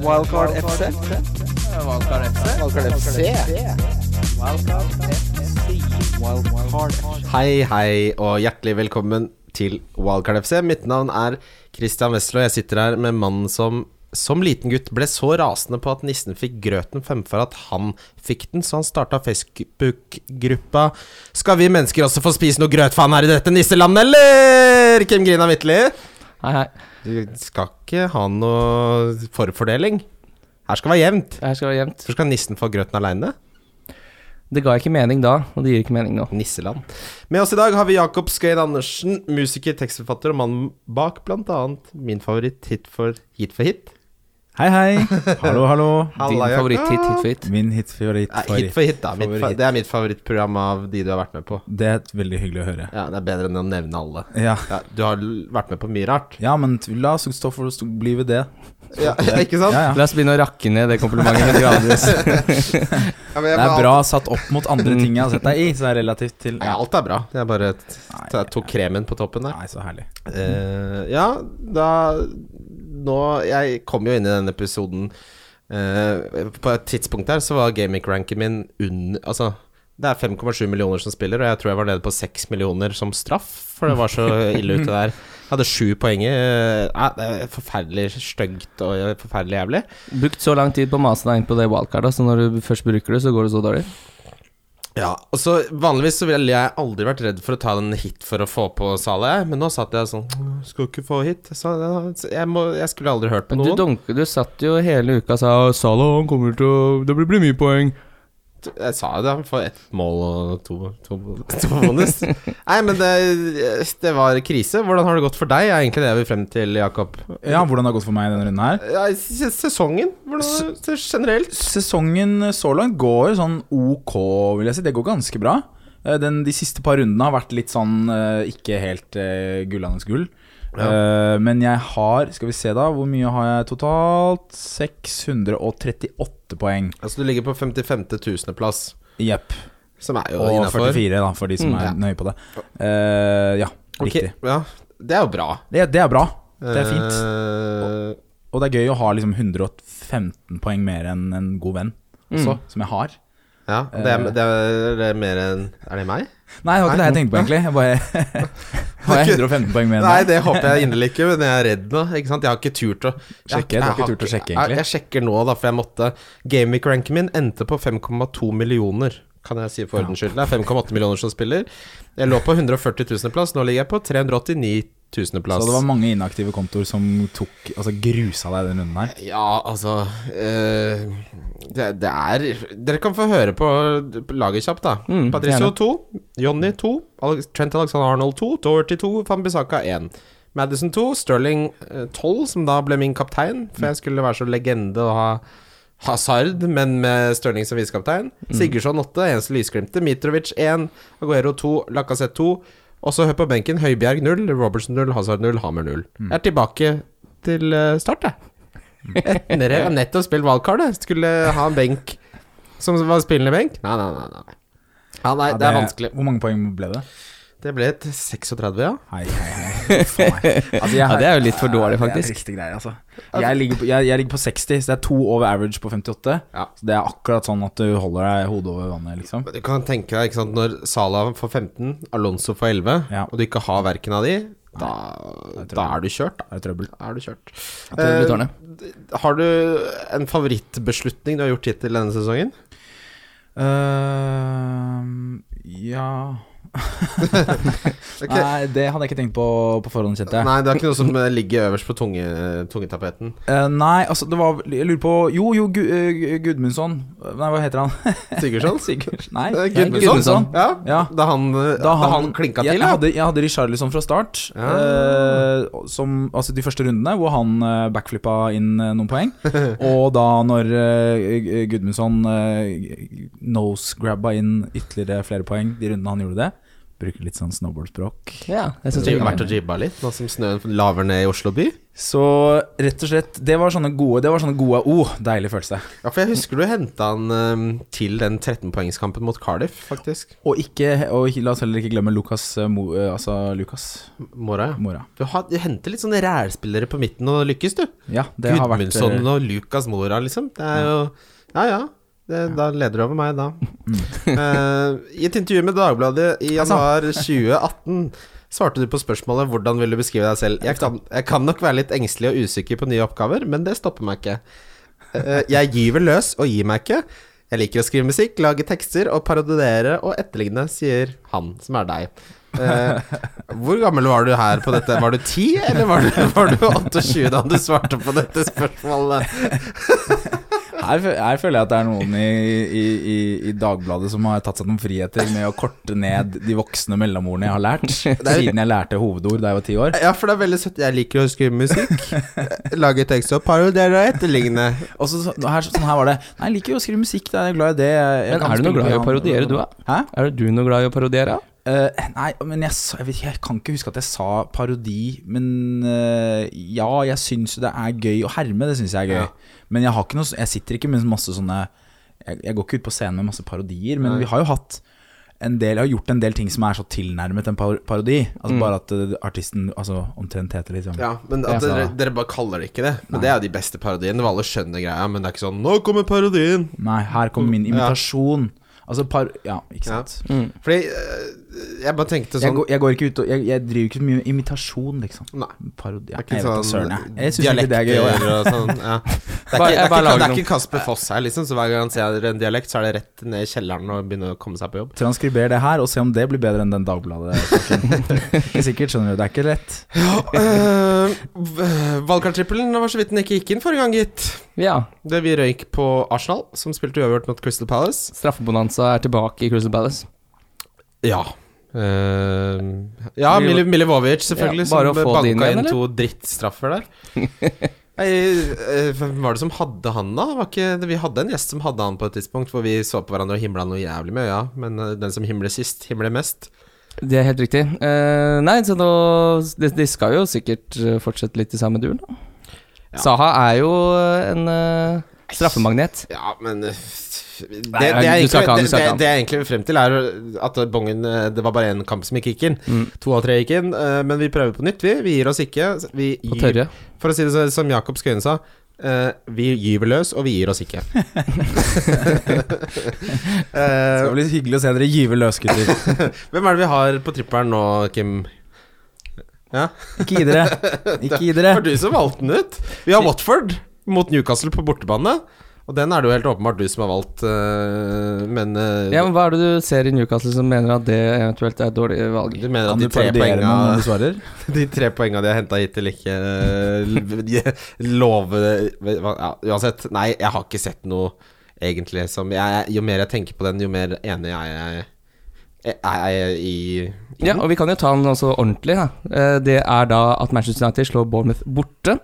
Wildcard FC. Wildcard FC. Wildcard FC. Wildcard FC. Hei, hei, og hjertelig velkommen til Wildcard FC. Mitt navn er Christian Wessel, og jeg sitter her med mannen som som liten gutt ble så rasende på at nissen fikk grøten fremfor at han fikk den, så han starta Facebook-gruppa Skal vi mennesker også få spise noe grøtfaen her i dette nisselandet, eller? Kim Grina Midtly. Hei, hei. Du skal ikke ha noe forfordeling. Her skal det være jevnt. Det her skal være jevnt. Så skal nissen få grøten aleine. Det ga ikke mening da, og det gir ikke mening nå. Nisseland. Med oss i dag har vi Jakob Skøyen Andersen, musiker, tekstforfatter og mannen bak bl.a. min favoritt hit for hit for hit. Hei, hei. Hallo, hallo. Din Halla, Jakob. favoritt-hit hit for hit. Min hitfavoritt. Nei, hit for hit, da. Mitt, fa- Favoritt. det er mitt favorittprogram av de du har vært med på. Det er veldig hyggelig å høre. Ja, Det er bedre enn å nevne alle. Ja, Ja, du har l- vært med på mye rart. ja men t- la oss stå for å stå- bli ved det. Ja, ikke sant? Ja, ja. La oss begynne å rakke ned det komplimentet med gradvis. Ja, men jeg Det er ble bra satt opp mot andre ting jeg har sett deg i, så er relativt til Nei, alt er bra. Jeg bare t- Nei, t- tok kremen på toppen der. Nei, så herlig. Eh, ja, da Nå Jeg kom jo inn i denne episoden eh, På et tidspunkt der så var gamic-ranken min under Altså, det er 5,7 millioner som spiller, og jeg tror jeg var nede på 6 millioner som straff, for det var så ille ute der. Jeg hadde sju poeng. eh, Nei, det er forferdelig stygt og eh, forferdelig jævlig. Brukt så lang tid på å mase deg inn på det wildcardet, så når du først bruker det, så går det så dårlig. Ja, og så Vanligvis så ville jeg aldri vært redd for å ta en hit for å få på salet, jeg, men nå satt jeg sånn «Åh, Skal ikke få hit. Så jeg, jeg, må, jeg skulle aldri hørt på Men du noen. dunket, du satt jo hele uka og sa «Å, Salah, han kommer til å Det blir, blir mye poeng. Jeg sa jo det, han får ett mål og to, to, to bonus. Nei, men det, det var krise. Hvordan har det gått for deg? er egentlig det jeg vil frem til, Jakob. Ja, hvordan det har gått for meg i denne runden her? Ja, se- sesongen? Hvordan, generelt? Sesongen så langt går jo sånn ok, vil jeg si. Det går ganske bra. Eh, Den, de siste par rundene har vært litt sånn eh, ikke helt eh, gullandes gull. Eh, men jeg har Skal vi se, da. Hvor mye har jeg totalt? 638 poeng. Altså, du ligger på 55. tusendeplass, Jepp. som er jo Og innafor. 44, da, for de som Mm, er ja. nøye på det. Eh, ja, riktig. ja, det er jo bra. Det, det er bra. Det er fint. Eh, Og det er gøy å ha liksom 115 poeng mer enn en god venn også, som jeg har. ja, det Eh. er, det er, det er mer enn Er det meg? Nei, det var ikke det jeg tenkte på, egentlig. Jeg bare Har jeg 115 poeng mer enn Nei, deg? det håper jeg inderlig ikke, men jeg er redd nå. Ikke sant? Jeg har ikke turt å Sjekke, du har ikke turt å sjekke, egentlig. Jeg, jeg sjekker nå, da, for jeg måtte Gameweek-ranken min endte på 5,2 millioner, kan jeg si for ordens skyld. Det er 5,8 millioner som spiller. Jeg lå på 140 000.-plass, nå ligger jeg på 389 Så det var tusendeplass. mange mange inaktive kontoer som tok Altså grusa deg den runden her. Ja, altså eh, det, det er Dere kan få høre på laget kjapt, da. Mm, Patricio gjerne. 2, Jonny 2, Alex, Trent Alexander Arnold 2, Doherty 2, Fambisaka 1. Madison 2, Sterling eh, 12, som da ble min kaptein, for jeg skulle være så legende og ha Hazard, men med Sterling som visekaptein. Mm. Sigurdsson 8, eneste lysglimtet. Mitrovic 1, Aguero 2, Lacassette 2. Og så hør på benken, Høibjerg 0, Robertson 0, Hazard 0, Hammer 0. Mm. Jeg er tilbake til eh, start, jeg. Etter jeg har nettopp spilt valgkart, jeg. Skulle ha en benk som var spillende benk. Nei, nei, nei. nei. Ja, nei, Ja, det er vanskelig. Hvor mange poeng ble det? Det ble et 36, ja. Hei, hei, hei. Faen meg. Altså, jeg Ja, har- det er jo litt for dårlig, Det er faktisk. triste greier, altså. Jeg ligger, på, jeg, jeg ligger på 60, så det er to over average på 58. Ja. Så det er akkurat sånn at du holder deg hodet over vannet, liksom. Men Du kan tenke deg, ikke sant, når Salah får 15, Alonso får 11, Ja. og du ikke har verken av de, da, da er du kjørt, da. Det er trøbbel. Da er du kjørt. det blir tårnet. Eh, har du en favorittbeslutning du har gjort hittil denne sesongen? Ehm, ja Ok. Nei, det hadde jeg ikke tenkt på på forhånd, kjente jeg. Nei. Nei, det er ikke noe som eh, ligger øverst på tunge, tungetapeten. nei, altså, det var Jeg lurer på Jo, jo, Gu eh, Gudmundsson. Nei, hva heter han? Sigurdsson? Sigurd? Nei, Eh, Gudmundsson. Ja. Ja. Da, han, eh, da han klinka jeg, til, jeg ja. hadde, jeg hadde Richarlison fra start, eh, som, altså de første rundene, hvor han eh, backflippa inn eh, noen poeng. og da når eh, Gudmundsson eh, nose-grabba inn ytterligere flere poeng de rundene han gjorde det, Bruker litt sånn snowboardspråk. Ja, jeg synes Det det er er jo bra. verdt å jibbe litt, nå som snøen laver ned i Oslo by. Så rett og slett, det var sånne gode Det var sånne gode oh, deilig følelse. Ja, for jeg husker du henta han ehm, til den 13-poengskampen mot Cardiff, faktisk. Og ikke Og la oss heller ikke glemme Lucas eh, Mo, eh, Altså Lucas Mora. ja. Mora. Du, har, du henter litt sånne rælspillere på midten og lykkes, du. Ja, det har vært eh, Gudmundsson og Lucas Mora, liksom. Det er jo Ja, ja. Det, da leder du over meg, da. Mm. Eh, I et intervju med Dagbladet i Altså. januar 2018 svarte du på spørsmålet 'Hvordan vil du beskrive deg selv?' Jeg kan, jeg kan nok være litt engstelig og usikker på nye oppgaver, men det stopper meg ikke. Eh, jeg gyver løs og gir meg ikke. Jeg liker å skrive musikk, lage tekster og parodiere og etterligne, sier han som er deg. Eh, hvor gammel var du her på dette? Var du ti, eller var du, var du 28 da du svarte på dette spørsmålet? Her, fø- her føler jeg at det er noen i, i, i, i Dagbladet som har tatt seg noen friheter med å korte ned de voksne mellomordene jeg har lært, siden jeg lærte hovedord da jeg var ti år. Ja, for det er veldig søtt. Jeg liker å skrive musikk, lage tekster og parodiere og etterligne. Og så, så, her, sånn her var det Nei, jeg liker jo å skrive musikk, da, jeg er glad i det. Jeg, jeg Men kan er du noe spille glad i å piano. parodiere, du, da? Hæ? Er du noe glad i å parodiere? Eh, nei, men jeg, sa- jeg, vet, jeg kan ikke huske at jeg sa parodi, men eh, ja, jeg syns jo det er gøy å herme, det syns jeg er gøy. Ja. Men jeg har ikke noe s- Jeg sitter ikke med masse sånne jeg, jeg går ikke ut på scenen med masse parodier, men vi har jo hatt en del, jeg har gjort en del ting som er så tilnærmet en par parodi. Altså Bare at eh, artisten altså, omtrent heter liksom Mm. Ja, men at Ja. dere, dere bare kaller det ikke det. Men det er jo de beste parodiene. Hvor alle skjønner greia, men det er ikke sånn 'Nå kommer parodien'. Nei, her kommer min imitasjon. Altså par... Ja, ikke Ja. sant. Fordi eh, jeg bare tenkte Jeg, sånn går, jeg går ikke ut og jeg, jeg driver ikke så mye med imitasjon, liksom. Nei. Parodi ja, Det er Jeg ikke vet da sånn søren, jeg. Jeg syns ikke det er gøy. jeg. dialekter og sånn, ja. Det er ikke, det er Bare- jeg bare ikke, det lager er ikke Kasper Foss her, liksom, så hver gang han ser en dialekt, så er det rett ned i kjelleren og begynne å komme seg på jobb. Transkriber det her, og se om det blir bedre enn den Dagbladet-saken. Ikke sikkert, skjønner du. Det er ikke lett. Eh, Uh, Valgkarttrippelen var så vidt den ikke gikk inn forrige gang, gitt. Ja. Det vi røyk på Arsenal, som spilte uavgjort mot Crystal Palace. Straffebonanza er tilbake i Crystal Palace. Ja. Eh, ja, Mil Milivojevic, selvfølgelig, Ja, bare å som få det inn banka igjen, inn eller? to drittstraffer der. Nei, eh, Hvem var det som hadde han, da? Var ikke, vi hadde en gjest som hadde han på et tidspunkt, hvor vi så på hverandre og himla noe jævlig med øya, men eh, den som himler sist, himler mest. Det er helt riktig. Eh, nei, så nå de, de skal jo sikkert eh, fortsette litt i samme duren, da. Ja. Saha er jo eh, en eh, straffemagnet. Ja, men eh, det, det, Nei, er du egentlig, skal ikke ha den, det, det, du skal ikke ha den. det jeg egentlig vil frem til, er at bongen eh, Det var bare én kamp som ikke gikk inn. Mm. To av tre gikk inn. eh, Men vi prøver på nytt, vi. Vi gir oss ikke. Vi På gir, tørre. for å si det så- som Jakob Skøyen sa. eh, vi gyver løs, og vi gir oss ikke. Det Eh, skal bli hyggelig å se dere gyve løs, gutter. hvem er det vi har på trippelen nå, Kim? Ikke gi dere. Ikke gi Det dere. var du som valgte den ut. Vi har Watford mot Newcastle på bortebane. Og den er det jo helt åpenbart du som har valgt, eh, men eh, Ja, men Hva er det du ser i Newcastle som mener at det eventuelt er et dårlig valg? du mener at Kan de du tre parodiere poenga eh, noen når du svarer? De tre poengene de har henta hittil, ikke eh, love hva- ja, Uansett, nei, jeg har ikke sett noe egentlig som jeg, Jo mer jeg tenker på den, jo mer enig er jeg, eh, er jeg i Ja, og vi kan jo ta den også ordentlig. Da. Eh, Det er da at Manchester United slår Bournemouth borte.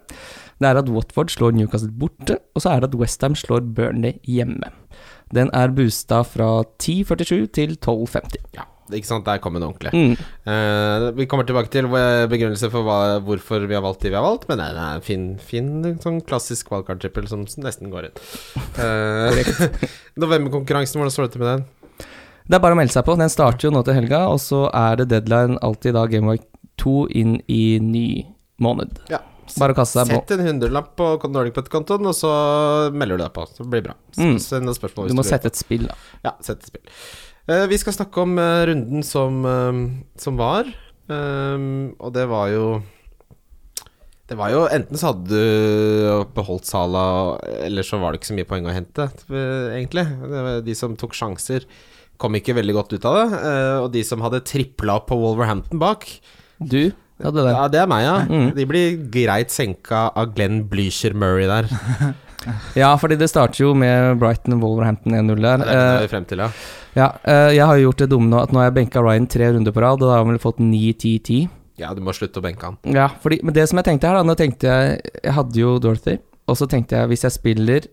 Det er at Watford slår Newcastle borte, og så er det at Westham slår Burnley hjemme. Den er boosta fra 10.47 til 12.50. ja, Ikke sant, der kom den ordentlig. Mm. Eh, vi kommer tilbake til eh, begrunnelse for hva, hvorfor vi har valgt de vi har valgt, men det er en fin, fin sånn klassisk wildcard-trippel som nesten går inn. Uh, Novemberkonkurransen, hvordan står det til med den? Det er bare å melde seg på. Den starter jo nå til helga, og så er det deadline alltid da Gameweek 2 inn i ny måned. Ja. Bare å kaste seg på. Sett en hundrelapp på Nordic.kontoen, og så melder du deg på. Så blir det bra. Så Mm. Send oss spørsmål Du hvis må lurer. sette et spill, da. Ja, sett et spill. Eh, vi skal snakke om eh, runden som, eh, som var, Ehm, og det var jo det var jo Enten så hadde du beholdt Sala, eller så var det ikke så mye poeng å hente, eh, egentlig. Det var de som tok sjanser, kom ikke veldig godt ut av det. eh, og de som hadde tripla opp på Wolverhampton bak, Du hadde den. ja, det er meg, ja. Mm. De blir greit senka av Glenn Blücher Murray der. Ja, fordi det starter jo med Brighton Wolverhampton 1-0 Det der. er det vi er frem til, ja. Eh, ja, eh, jeg har jo gjort det dumme nå at nå har jeg benka Ryan tre runder på rad, og da har han vel fått 9-10-10. Ja, du må slutte å benke han. Ja, fordi, men det som jeg tenkte her, da Nå tenkte jeg Jeg hadde jo Dorothy, og så tenkte jeg hvis jeg spiller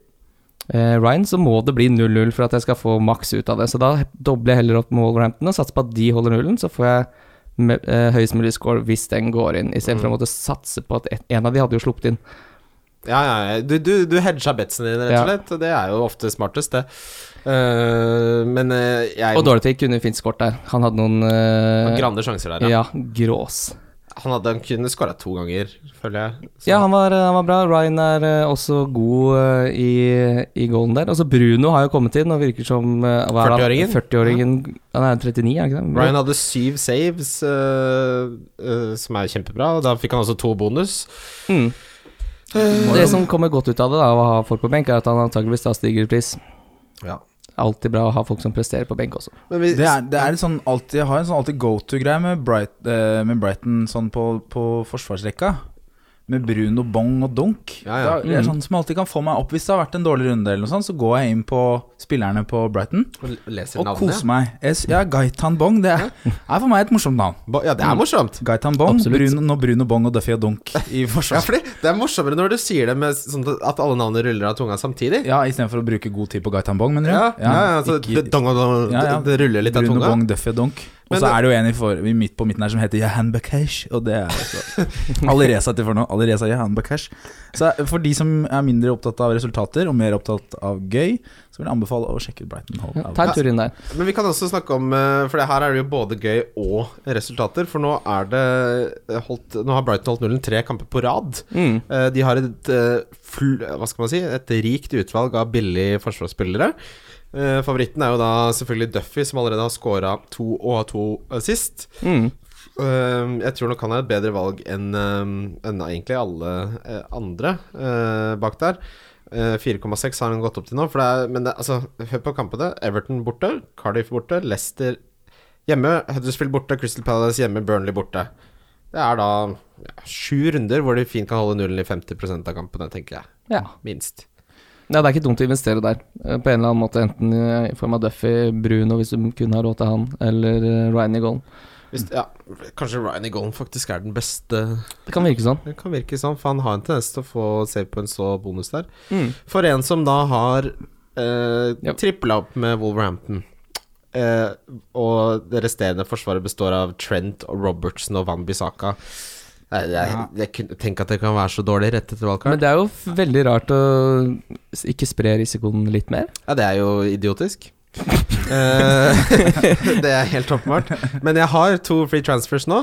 eh, Ryan, så må det bli 0-0 for at jeg skal få maks ut av det. Så da dobler jeg heller opp med Wolverhampton og satser på at de holder nullen, så får jeg me- eh, høyest mulig score hvis den går inn, Mm. istedenfor for å måtte satse på at et, en av de hadde jo sluppet inn. Ja, ja, ja. Du, du, du hedga betsene dine, rett og Ja. slett. og Det er jo ofte smartest, det. Eh, men eh, jeg Og Dorothy kunne fint skåret der. Han hadde noen eh, Grande sjanser der, ja. Ja, grås. Han, hadde, han kunne skåra to ganger, føler jeg. Så- Ja, han var, han var bra. Ryan er eh, også god eh, i, i golden der. Altså Bruno har jo kommet inn og virker som eh, hva er han? 40-åringen? 40-åringen. Han er 39, er han ikke det? Ryan hadde syv saves, eh, eh, som er kjempebra. Og da fikk han også to bonus. Mm. Det som kommer godt ut av det, da, av å ha folk på benk, er at han antakeligvis da stiger i pris. Ja. Alltid bra å ha folk som presterer på benk også. Men vi, Det er, det er litt sånn alltid, Jeg har en sånn alltid go to-greie med, Bright, eh, med Brighton sånn på, på forsvarsrekka. Med Bruno Bong og Dunk. Ja, ja. Mm. Det er sånn som alltid kan få meg opp Hvis det har vært en dårlig runde, eller noe sånt, så går jeg inn på spillerne på Brighton leser og navnet. koser meg. Jeg s- Ja, Gaitan Bong det er, er for meg et morsomt navn. Ba- Ja, det Mm. er morsomt. Gaitan Bong, Absolutt. Bruno, nå Bruno Bong og Duffy og Dunk i Ja, forsvar. fordi Det er morsommere når du sier det med sånn at alle navnene ruller av tunga samtidig. Ja, Istedenfor å bruke god tid på Gaitan Bong, mener du? Ja, ja, ja, så ikke- det, dong, dong, dong, Ja, ja. det, det ruller litt av Bruno tunga. Bong, Duffy og Donk. Og Men så det- er det jo en i for, i midt på midten her som heter Jahan Bakash. Og det er altså Alireza til fornavn. Alireza Jahan Bakash. Så eh, for de som er mindre opptatt av resultater og mer opptatt av gøy, så vil jeg anbefale å sjekke ut Brighton Hove. Ja, ta en tur inn der. Men vi kan også snakke om eh, For det her er det jo både gøy og resultater. For nå er det eh, holdt, Nå har Brighton holdt nullen tre kamper på rad. Mm. Eh, De har et eh, fl- Hva skal man si Et rikt utvalg av billige forsvarsspillere. Eh, Favoritten er jo da selvfølgelig Duffy, som allerede har scora to og har to eh, sist. Mm. Eh, Jeg tror nok han er et bedre valg enn eh, enn egentlig alle eh, andre eh, bak der. Eh, 4,6 har han gått opp til nå. For det er, men det, altså, hør på kampene. Everton borte, Cardiff borte, Leicester hjemme, Huddersfield borte, Crystal Palace hjemme, Burnley borte. Det er da ja, sju runder hvor de fint kan holde nullen i 50 av kampene, tenker jeg. Ja. Minst. Nei, det er ikke dumt å investere der, eh, på en eller annen måte. Enten eh, i form av Duffy, Bruno, hvis du kunne ha råd til han, eller eh, Ryan i golden. Hvis, ja, kanskje Ryan i golden faktisk er den beste Det kan virke sånn. Det kan virke sånn, for han har en tendens til å få save points og bonus der. For en som da har eh, Mm. Ja. tripla opp med Wolverhampton, eh, og det resterende forsvaret består av Trent og Robertson og Van Bissaka jeg, jeg, jeg kunne- Tenk at det kan være så dårlig rett etter Men valgkart. det er jo f- veldig rart å s- ikke spre risikoen litt mer. Ja, det er jo idiotisk. Eh, det er helt åpenbart. Men jeg har to free transfers nå,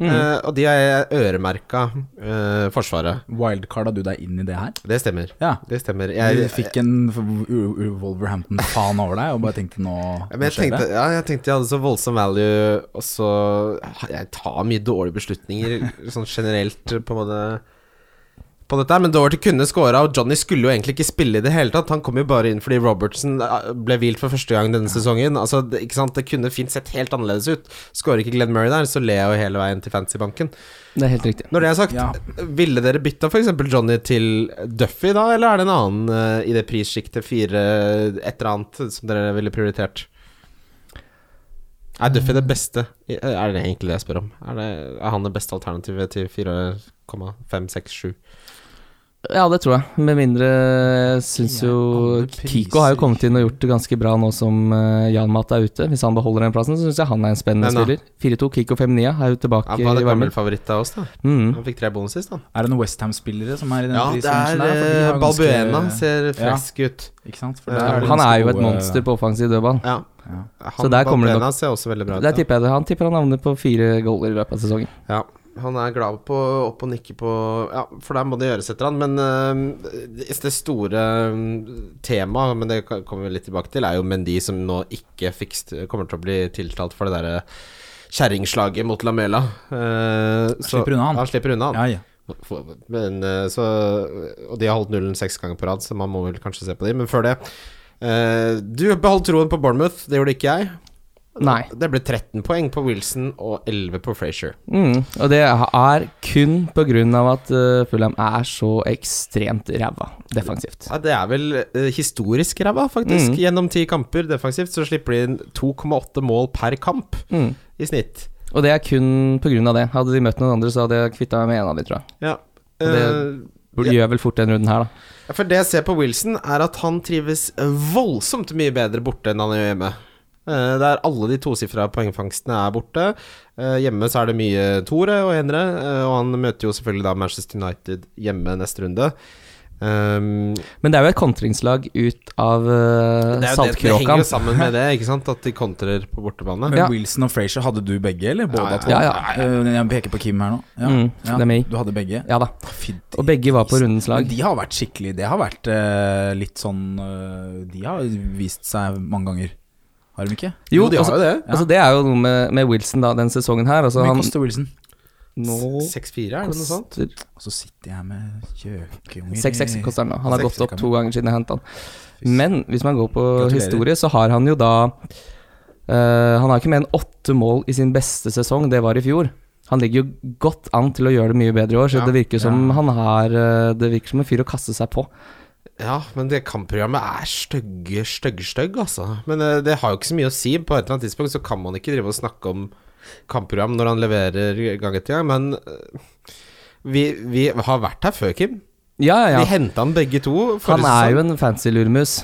Mm. eh, og de har jeg øremerka eh, Forsvaret. Wildcarda du deg inn i det her? Det stemmer. Ja. Det stemmer. Jeg fikk en Wolverhampton-faen over deg og bare tenkte nå, Ja, nå Men jeg tenkte, ja, jeg tenkte jeg hadde så voldsom value, og så Jeg tar mye dårlige beslutninger sånn generelt på en måte på dette, her, men Doherty kunne scora, og Johnny skulle jo egentlig ikke spille i det hele tatt. Han kom jo bare inn fordi Robertson eh, ble hvilt for første gang denne sesongen. Altså, det, ikke sant? det kunne fint sett helt annerledes ut. Skårer ikke Glenn Murray der, så ler jeg jo hele veien til Fantasybanken. Det er helt riktig. Når det er sagt, Ja. ville dere bytta f.eks. Johnny til Duffy da, eller er det en annen eh, i det prissjiktet fire et eller annet som dere ville prioritert? Er Duffy det beste? I- eh, Er det egentlig det jeg spør om? Er, det, er han det beste alternativet til 4,567? Ja, det tror jeg. Med mindre jeg syns Ja, jo alle priser. Kiko har jo kommet inn og gjort det ganske bra nå som eh, Jan Mat er ute. Hvis han beholder den plassen, så syns jeg han er en spennende Men da- spiller. 4-2, Kiko 5-9 er jo tilbake Han var det i varmen. gammel favoritt av oss, da. Mm. Han fikk tre bonus sist, han. Er det noen Westham-spillere som er i den Ja, det prisrangen er der? For de har eh, jo ganske- Balbuena ser frisk ut. Ikke sant? Ja, der er eh, det Han ganske er jo et gode- monster på offensiv dødball. Ja. Ja. Så der kommer det Balbuena ser også veldig bra ut. Der ja. tipper jeg det. Han tipper han havner på fire goaler i løpet av sesongen. Ja, han er glad på opp og nikke på Ja, for der må det gjøres etter han. Men øh, det store øh, temaet, men det ka- kommer vi litt tilbake til, er jo Mendy som nå ikke fikk st- kommer til å bli tiltalt for det derre kjerringslaget mot Lamela. Eh, så- slipper unna han. Ja, slipper unna han. Ja, ja. For- Men, eh, så, og de har holdt nullen seks ganger på rad, så man må vel kanskje se på de. Men før det eh, Du beholdt troen på Bournemouth, det gjorde ikke jeg. Nei. Det ble 13 poeng på Wilson og 11 på Frazier. Mm. Og det er kun på grunn av at eh, Fulham er så ekstremt ræva defensivt. Ja, det er vel eh, historisk ræva, faktisk. Mm. Gjennom ti kamper defensivt så slipper de inn 2,8 mål per kamp Mm. i snitt. Og det er kun på grunn av det. Hadde de møtt noen andre, så hadde jeg kvitta meg med en av de, tror jeg. Ja. Og det- Eh, Burde gjøre vel fort den runden her, da. Ja, For det jeg ser på Wilson, er at han trives voldsomt mye bedre borte enn han gjør hjemme. Eh, Der alle de tosifra poengfangstene er borte. Eh, Hjemme så er det mye toere og enere, eh, og han møter jo selvfølgelig da Manchester United hjemme neste runde. Um, Men det er jo et kontringslag ut av eh, det er jo det, det henger Saltkråkan. jo sammen med det, ikke sant? At de kontrer på bortebane. Men Ja. Wilson og Frazier, hadde du begge, eller? Både Ja, ja, av to? ja, Eh, Jeg peker på Kim her nå. Ja, Mm, det er meg. Du hadde begge? Ja da. Fint. Og begge var på rundens Men lag. de har vært skikkelig Det har vært eh, litt sånn eh, De har vist seg mange ganger, har de ikke? Jo, de altså- har jo det. Ja. Altså Det er jo noe med, med Wilson da den sesongen her. Altså Hvor mye han koster Wilson? nå 6-4, er det noe sånt? koster Og så sitter jeg med kjøkeunger 6-6 koster han nå. Han har 6-6 gått opp kan to ganger siden jeg henta han. Fy Men hvis man går på Gratulerer. historie, så har han jo da eh, Han har ikke mer enn åtte mål i sin beste sesong, det var i fjor. Han ligger jo godt an til å gjøre det mye bedre i år, så Ja, det virker som han har eh, Det virker som en fyr å kaste seg på. Ja, men det kampprogrammet er stygge, stygge, stygg, altså. Men eh, det har jo ikke så mye å si. På et eller annet tidspunkt så kan man ikke drive og snakke om kampprogram når han leverer gang etter gang, men eh, vi, vi har vært her før, Kim. Ja, ja, Vi ja. henta han begge to. Han er jo en fancy lurmus.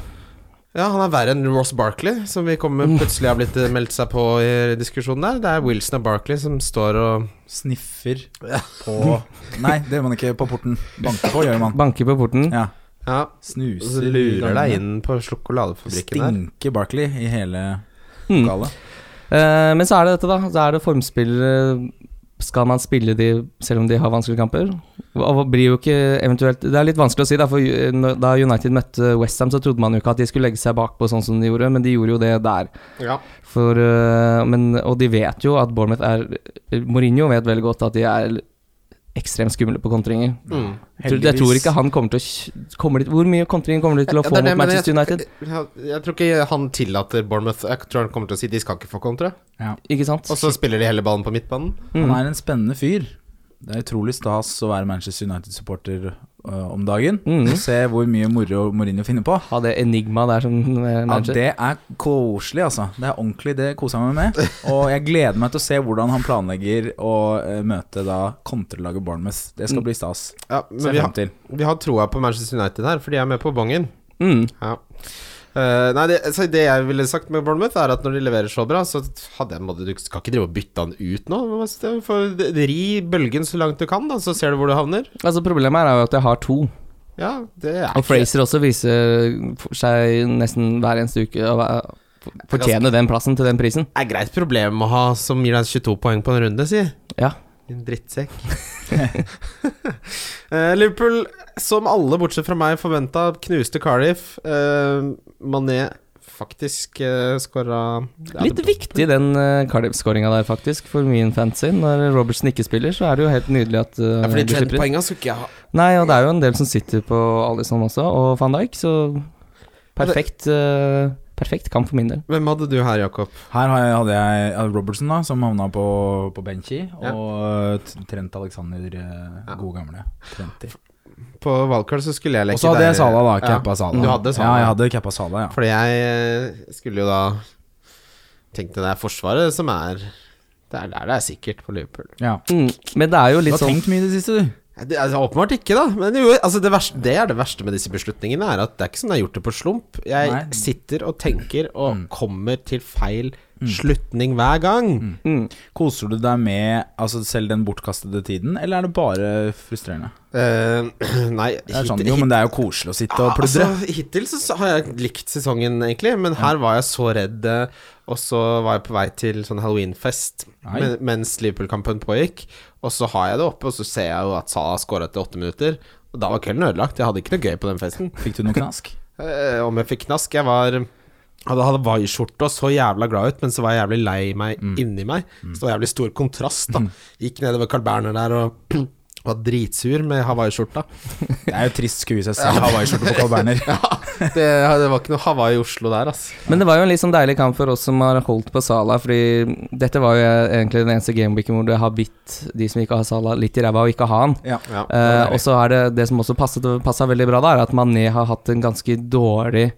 Ja, han er verre enn Ross Barkley, som vi kommer plutselig har blitt eh, meldt seg på i diskusjonen der. Det er Wilson og Barkley som står og Sniffer på Nei, det gjør man ikke på porten. Banker på, gjør man. Banker på porten. Ja. ja, og så Snuser lurer gangene. deg inn på sjokoladefabrikken der. Stinker Barkley i hele Mm. lokalet. Eh, men så er det dette, da. Så er det formspillere. Skal man spille de selv om de har vanskelige kamper? Og det blir jo ikke eventuelt Det er litt vanskelig å si, da. For eh, når- da United møtte Westham, så trodde man jo ikke at de skulle legge seg bakpå sånn som de gjorde, men de gjorde jo det der. Ja. For, eh, men, og de vet jo at Bournemouth er eh, Mourinho vet veldig godt at de er ekstremt skumle på kontringer. Mm. Jeg tror- Jeg tror ikke han kommer til å kj- kommer dit, Hvor mye kontringer kommer de til å Ja, få det er det, mot men Manchester jeg, United? Jeg, jeg tror ikke han tillater Bournemouth Jeg tror han kommer til å si de skal ikke få kontra. Ikke sant? Og så spiller de hele ballen på midtbanen. Han Mm. er en spennende fyr. Det er utrolig stas å være Manchester United-supporter øh, om dagen. Mm. Og se hvor mye moro Mourinho finner på. Ha det enigmaet der som eh, Ja, manager. det er koselig, altså. Det er ordentlig, det koser jeg meg med. Og jeg gleder meg til å se hvordan han planlegger å eh, møte da kontralaget Bournemouth. Det skal bli stas. Ja, Mm. men Se vi frem har, til. vi har troa på Manchester United her, for de er med på bongen. Mm. Ja. Eh, nei, det, så det jeg ville sagt med Bournemouth, er at når de leverer så bra, så hadde jeg måtte, Du skal ikke drive og bytte han ut nå. men altså, det- for- det- Ri bølgen så langt du kan, da, så ser du hvor du havner. Altså Problemet her er jo at jeg har to. Ja, det er Og Fraser også viser for seg nesten hver eneste uke å være- fortjene den plassen til den prisen. er greit problem å ha som gir deg 22 poeng på en runde, si. Ja. Din drittsekk. Eh, Liverpool, som alle bortsett fra meg forventa, knuste Cardiff. Eh, Mané faktisk uh, skåra Litt viktig den uh, Cardiff-skåringa der, faktisk, for min fancy. Når Robertsen ikke spiller, så er det jo helt nydelig at eh, Ja, fordi de slipper inn. Trent-poenga skulle ikke jeg ha. Nei, og det er jo en del som sitter på Alison også, og van Dijk, så perfekt, eh, perfekt kamp for min del. Hvem hadde du her, Jakob? Her har jeg, hadde jeg ja, Robertson, da, som havna på, på Benchi. Ja. Og eh, Trent Alexander, eh, Ja. gode gamle. Trenti. På valgkart så skulle jeg Og leke så hadde jeg der- Sala, da. Ja, Cappa Sala. Du hadde Sala. Ja, jeg hadde cappa Sala, ja. Fordi jeg eh, skulle jo da Tenkte det er Forsvaret som er Det er der det er sikkert på Liverpool. ja. Mm. Men det er jo Du litt har sånn tenkt mye i det siste, du. Det, altså, åpenbart ikke, da. Men jo, altså, det, verste, det er det verste med disse beslutningene, er at det er ikke sånn jeg har gjort det på slump. Jeg Nei. Mm. sitter og tenker og kommer til feil slutning hver gang. mm. Koser du deg med altså, selv den bortkastede tiden, eller er det bare frustrerende? Eh, nei, Det er sånn, hittil- jo, men det er jo koselig å sitte og Altså, pludre. hittil så har jeg likt sesongen, egentlig, men her var jeg så redd. eh, Og så var jeg på vei til sånn halloweenfest Nei. men, mens Liverpool-kampen pågikk. Og så har jeg det oppe, og så ser jeg jo at Salah skåra etter åtte minutter. Og da var kvelden ødelagt. Jeg hadde ikke noe gøy på den festen. Fikk du noe knask? Eh, om jeg fikk knask Jeg var hadde hawaiiskjorte og så jævla glad ut, men så var jeg jævlig lei meg Mm. inni meg. Så det var jævlig stor kontrast, da. Gikk nedover Carl Berner der og var dritsur med hawaiiskjorta. Det er jo trist skue i seg selv, hawaiiskjorte på Carl Berner. Det, det var ikke noe Hawaii i Oslo der, altså. Men det var jo en litt sånn deilig kamp for oss som har holdt på Sala, fordi dette var jo egentlig den eneste gameweeken hvor det har bitt de som ikke har Sala, litt i ræva og ikke ha han. Ja. Ja. Eh, og så er det det som også passet, passet veldig bra, da, er at Mané har hatt en ganske dårlig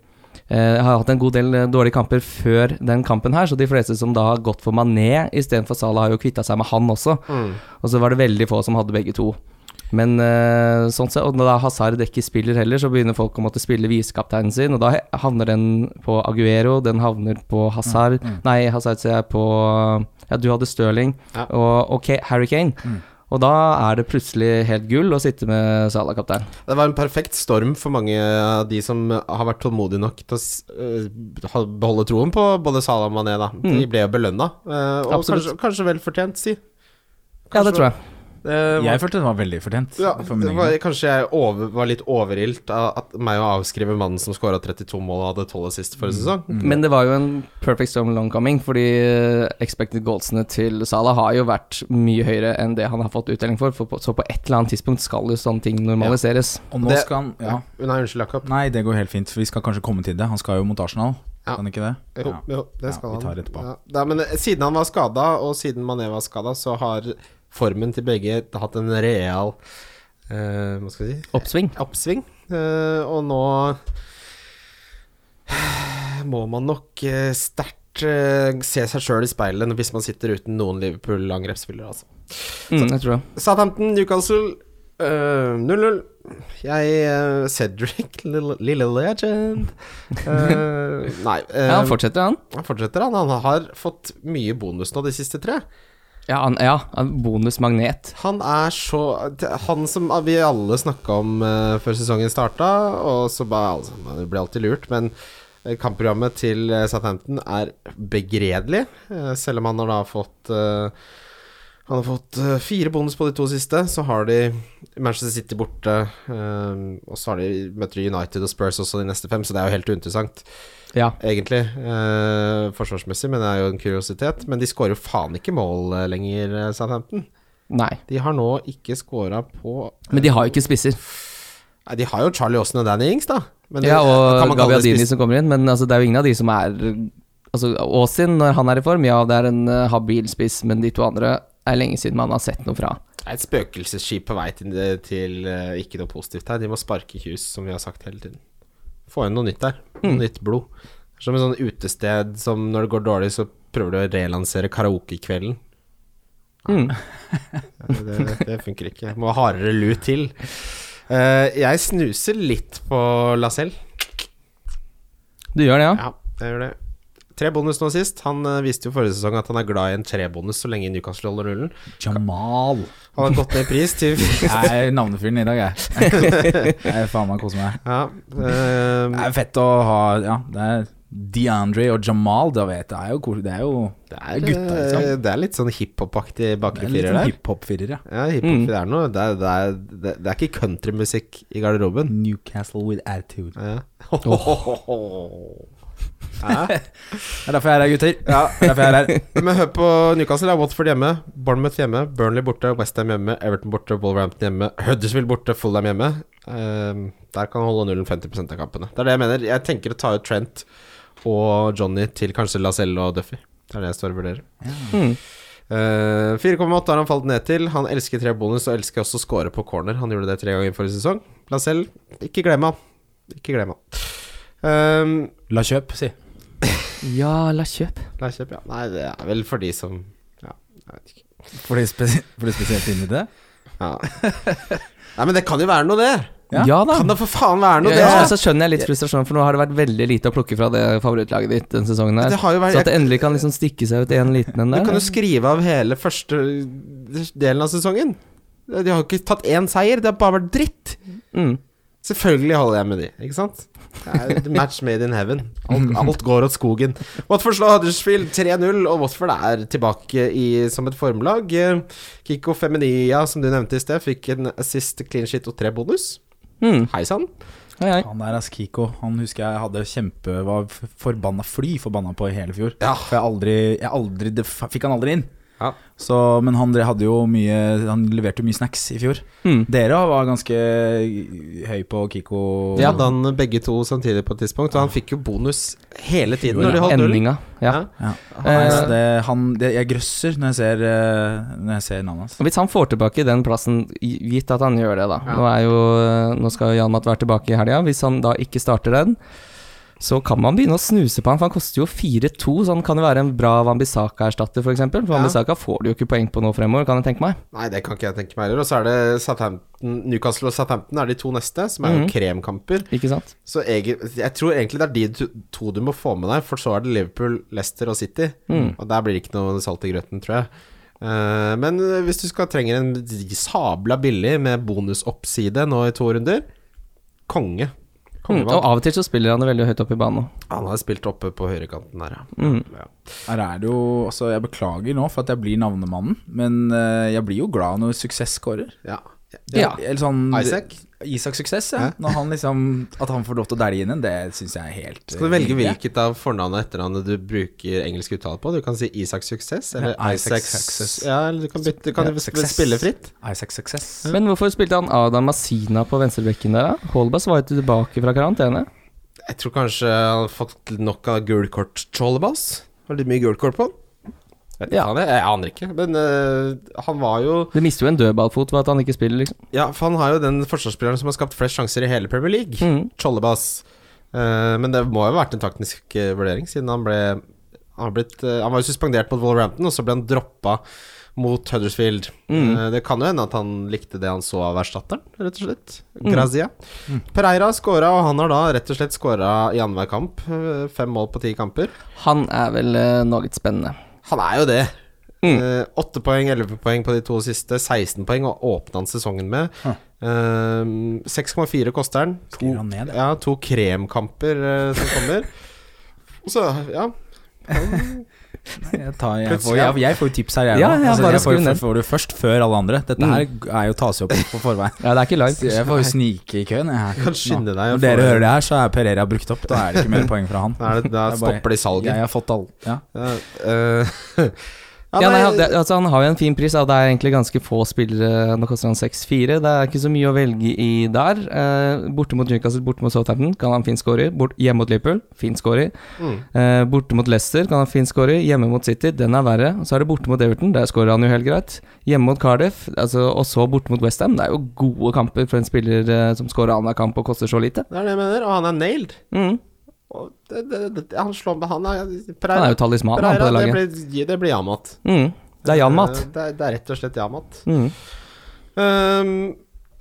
eh, har hatt en god del eh, dårlige kamper før den kampen her, så de fleste som da har gått for Mané istedenfor Salah, har jo kvitta seg med han også. Mm. Og så var det veldig få som hadde begge to. Men eh, sånn sett, og når da Hazard ikke spiller heller, så begynner folk å måtte spille visekapteinen sin, og da he- havner den på Aguero, den havner på Hazard Nei, Hazard ser jeg på Ja, du hadde Stirling Ja. og ok, Harry Kane. Mm. Og da er det plutselig helt gull å sitte med Salah-kaptein. Det var en perfekt storm for mange av de som har vært tålmodige nok til å s- øh, ha- beholde troen på både Salah og Mané. Da. De ble jo belønna, og kanskje, Mm. Absolutt. kanskje vel fortjent, si. Ja, det tror jeg. Det var- Jeg følte den var veldig fortjent. ja, for min det egen var, del. kanskje jeg over, var litt overilt av at meg å avskrive mannen som skåra 32 mål og hadde 12 assist Mm. forrige sesong. Men det var jo en perfect storm long coming, fordi eh, expected goalsene til Salah har jo vært mye høyere enn det han har fått utdeling for, for på, så på et eller annet tidspunkt skal jo sånne ting normaliseres. Og nå det- skal han ja. Nei, unnskyld, Jakob. Nei, det går helt fint, for vi skal kanskje komme til det. Han skal jo mot Arsenal, Ja. kan ikke det? Jo, Ja. jo, det skal Ja, vi tar han. etterpå. Ja, da, men eh, siden han var skada, og siden Mané var skada, så har formen til begge hatt en real eh, Hva skal jeg si? Oppsving. oppsving. eh, og nå må man nok eh, sterkt eh, se seg sjøl i speilet hvis man sitter uten noen Liverpool-angrepsspillere. Altså. Mm, jeg tror det. Southampton, Newcastle eh, 0-0. Jeg eh, Cedric, lille, lille legend Eh, Nei. eh, Ja, han fortsetter, han. han fortsetter, han. Han har fått mye bonus nå de siste tre. Ja, han, ja, han bonusmagnet. Han er så det- Han som vi alle snakka om eh, før sesongen starta, og så bare altså, Man blir alltid lurt, men eh, kampprogrammet til eh, Southampton er begredelig, eh, selv om han har da fått eh, han har fått eh, fire bonus på de to siste. Så har de Manchester City borte, eh, og så har de møter de United og Spurs også de neste fem, så det er jo helt uinteressant, Ja. egentlig. eh, forsvarsmessig, men det er jo en kuriositet. Men de skårer jo faen ikke mål eh, lenger, eh, Southampton. Nei. De har nå ikke scora på eh, Men de har jo ikke spisser. Nei, De har jo Charlie Austin og Danny Ings, da. Men det- Ja, kan og man kalle det Gaviadini spiss- som kommer inn, men altså, det er jo ingen av de som er Altså, Aasin, når han er i form, ja, det er en eh, habil spiss, men de to andre er lenge siden man har sett noe fra. er et spøkelsesskip på vei til, til eh, ikke noe positivt her. De må sparke Hughes, som vi har sagt hele tiden. Få inn noe nytt der. Noe Hmm. Nytt blod. Det er Som et sånn utested som når det går dårlig, så prøver du å relansere karaokekvelden. Mm. Ja, Det, det funker ikke. Må hardere lut til. Eh, jeg snuser litt på Lacelle. Du gjør det, ja? Ja, jeg gjør det. Tre bonus nå sist. Han eh, viste jo forrige sesong at han er glad i en trebonus så lenge Newcastle holder nullen. Jamal. Han har gått ned i pris til Jeg er navnefyren i dag, jeg. jeg faen meg koser meg. Ja, eh, Det er fett å ha Ja, det er DeAndre og Jamal, da vet jeg. Det er jo koselig. Det er jo det, det er, er gutta, liksom. eh, det er litt Mm. sånn hiphop-aktig det bakre er firer litt der. hiphop-firer, ja. Ja, hiphop, det, er noe, det, er, det, er, det, det er ikke countrymusikk i garderoben. Newcastle with attitude. Ja. Det er derfor jeg er her, gutter. Ja, det er derfor jeg er her. Men hør på Newcastle. Det er Watford hjemme, Bournemouth hjemme, Burnley borte, Westham hjemme, Everton borte, Wolverhampton hjemme, Huddersfield borte, Fulham hjemme. Ehm, der kan han holde nullen 50 av kampene. Det er det jeg mener. Jeg tenker å ta ut Trent og Johnny til kanskje Lacelle og Duffy. Det er det jeg står og vurderer. Mm. Eh, 4,8 har han falt ned til. Han elsker tre bonus og elsker også å score på corner. Han gjorde det tre ganger i forrige sesong. Lacelle, ikke glem han. Ikke glem han. Ehm, La kjøp, si. Ja, la kjøp. Nei, kjøp, ja. Nei, det er vel for de som Ja, jeg vet ikke. For det, spes for det spesielt inni det. Ja. Nei, men det kan jo være noe, det. Ja. Ja, da. Kan da for faen være Ja, noe, ja, det. så skjønner jeg litt frustrasjon, for nå har det vært veldig lite å plukke fra det favorittlaget ditt denne sesongen. her Det har jo vært- Så at det endelig kan liksom stikke seg ut en liten en Du kan der. jo skrive av hele første delen av sesongen. De har jo ikke tatt én seier, det har bare vært dritt. Mm. Selvfølgelig holder jeg med de, ikke sant? Det er et match made in heaven. Alt, alt går åt skogen. Watford slår Huddersfield 3-0, og Watford er tilbake i, som et formlag. Eh, Kiko Feminia, som du nevnte i sted, fikk en assist, clean shit og tre bonus. Mm. Hei sann. Hei, hei. Han der Askiko, han husker jeg hadde kjempe Var f- forbanna fly forbanna på i hele fjor. Ja. For jeg aldri, jeg aldri Det f- fikk han aldri inn. Ja. Så, men han dre- hadde jo mye Han leverte jo mye snacks i fjor. Mm. Dere var ganske høy på Kiko. Og hadde han begge to samtidig på et tidspunkt, og han fikk jo bonus hele tiden når de holdt null. Endinga. Ja. Ja. Eh, Nei, så det, han, det, jeg grøsser når jeg ser, eh, når jeg ser navnet hans. Og Hvis han får tilbake den plassen, gi- gitt at han gjør det, da Ja. eh, Nå, er jo, nå skal jo Jan Matt være tilbake i helga. Hvis han da ikke starter den, så kan man begynne å snuse på han, for han koster jo 4-2, så han kan jo være en bra Wambisaka-erstatter, f.eks. For, eksempel. for Ja. Wambisaka får du jo ikke poeng på nå fremover, kan jeg tenke meg. Nei, det kan ikke jeg tenke meg heller. Og så er det Southampton, Newcastle og Southampton er de to neste, som er Mhm. jo kremkamper. Ikke sant? Så jeg, jeg tror egentlig det er de to- to du må få med deg, for så er det Liverpool, Leicester og City. Mhm. Og der blir det ikke noe salt i grøten, tror jeg. Eh, men hvis du skal trenger en sabla billig med bonusoppside nå i to runder Konge. Mm, og Kongevalg. av og til så spiller han det veldig høyt opp i banen nå. Han har spilt oppe på høyrekanten her, ja. Mm. ja. Her er det jo Altså, jeg beklager nå for at jeg blir navnemannen, men eh, jeg blir jo glad når suksess scorer. ja. Ja. Eller sånn Isak? Isak Suksess, ja. Når han liksom At han får lov til å dælje inn en, det syns jeg er helt eh, Skal du velge hvilket av fornavnet og etternavnet du bruker engelsk uttale på? Du kan si Isak Suksess, eller Ja, Isaac Isaac Success. Suksess. Ja, eller du kan, bytte, du kan Ja, sp- Success. spille fritt. Isak Suksess. Men hvorfor spilte han Adam Masina på venstrebekken der, da? Holbass var jo tilbake fra karantene. Jeg tror kanskje han har fått nok av gulkort-trollebass. Har litt mye gulkort på han. Jeg, ja. jeg, jeg aner ikke, men øh, han var jo Det mister jo en dødballfot ved at han ikke spiller, liksom. Ja, for han har jo den forsvarsspilleren som har skapt flest sjanser i hele Premier League. Mhm. Trollebass. Eh, men det må jo ha vært en taktisk eh, vurdering, siden han ble Han, har blitt, eh, han var jo suspendert mot Wolverhampton, og så ble han droppa mot Huddersfield. Eh, det kan jo hende at han likte det han så av erstatteren, rett og slett. Grazia. Pereira skåra, og han har da rett og slett skåra i annenhver kamp. eh, fem mål på ti kamper. Han er vel eh, noe litt spennende. Han er jo det. Eh, Åtte poeng, elleve poeng på de to siste. 16 poeng og åpna han sesongen med. Eh, 6,4 koster han. To, Skriver han ned, ja, to kremkamper eh, som kommer. Og så, ja Jeg, tar, jeg, får, Plutselig, ja. jeg, jeg får jo tips her, jeg Ja, nå. Altså, ja, bare jeg får, skriv jo- ned. får det jo først før alle andre. Dette her er jo tas jo opp på forveien. Ja, det er ikke Så Jeg live. får jo snike i køen. Jeg Kan skynde deg å Når få det. dere hører det her, så er Pereira brukt opp. Da er det ikke mer poeng fra han. da, er det, da Det er bare- stopper de salget. Jeg har fått alle. Ja. Eh, eh, ja, Ja, nei, nei, han- det, altså, han har jo en fin pris, da. det er egentlig ganske få spillere. Nå koster han 6-4. Det er ikke så mye å velge i der. Eh, borte mot Newcastle, borte mot Southampton kan han fin score i. Bort- Hjemme mot Liverpool, fin score i. Mm. Eh, borte mot Leicester kan han fin score i. Hjemme mot City, den er verre. Så er det borte mot Everton, der scorer han jo helt greit. Hjemme mot Cardiff, altså, og så borte mot Westham. Det er jo gode kamper for en spiller eh, som scorer annenhver kamp og koster så lite. det er det jeg mener. Og han er nailed. Mm. Og det, det, det, han slår med han er, Han er jo talisman han, på det Pereira, det laget. blir, det blir Yamat. Mm. Det er Jan Mat. Eh, Det, er- det er rett og slett Yamat. Mm. Ehm,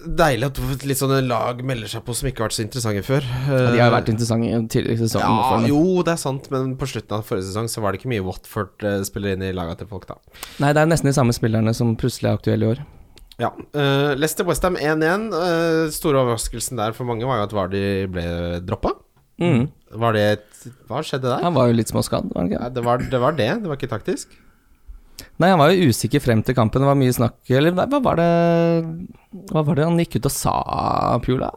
deilig at litt sånne lag melder seg på som ikke har vært så interessante før. Ja, De har jo vært interessante i tidligere sesonger. i hvert fall, ja, men- jo, det er sant, men på slutten av forrige sesong så var det ikke mye Watford eh, spiller inn i laga til folk, da. Nei, det er nesten de samme spillerne som plutselig er aktuelle i år. Ja. Uh, Leicester Westham 1-1. Eh, store overraskelsen der for mange var jo at Vardy ble droppa. Var det et, Hva skjedde der? Mm. Han var jo litt småskadd, var han ikke? Nei, det, var, det var det, det var ikke taktisk. Nei, han var jo usikker frem til kampen, det var mye snakk Eller hva hva var det Hva var det han gikk ut og sa, Pula?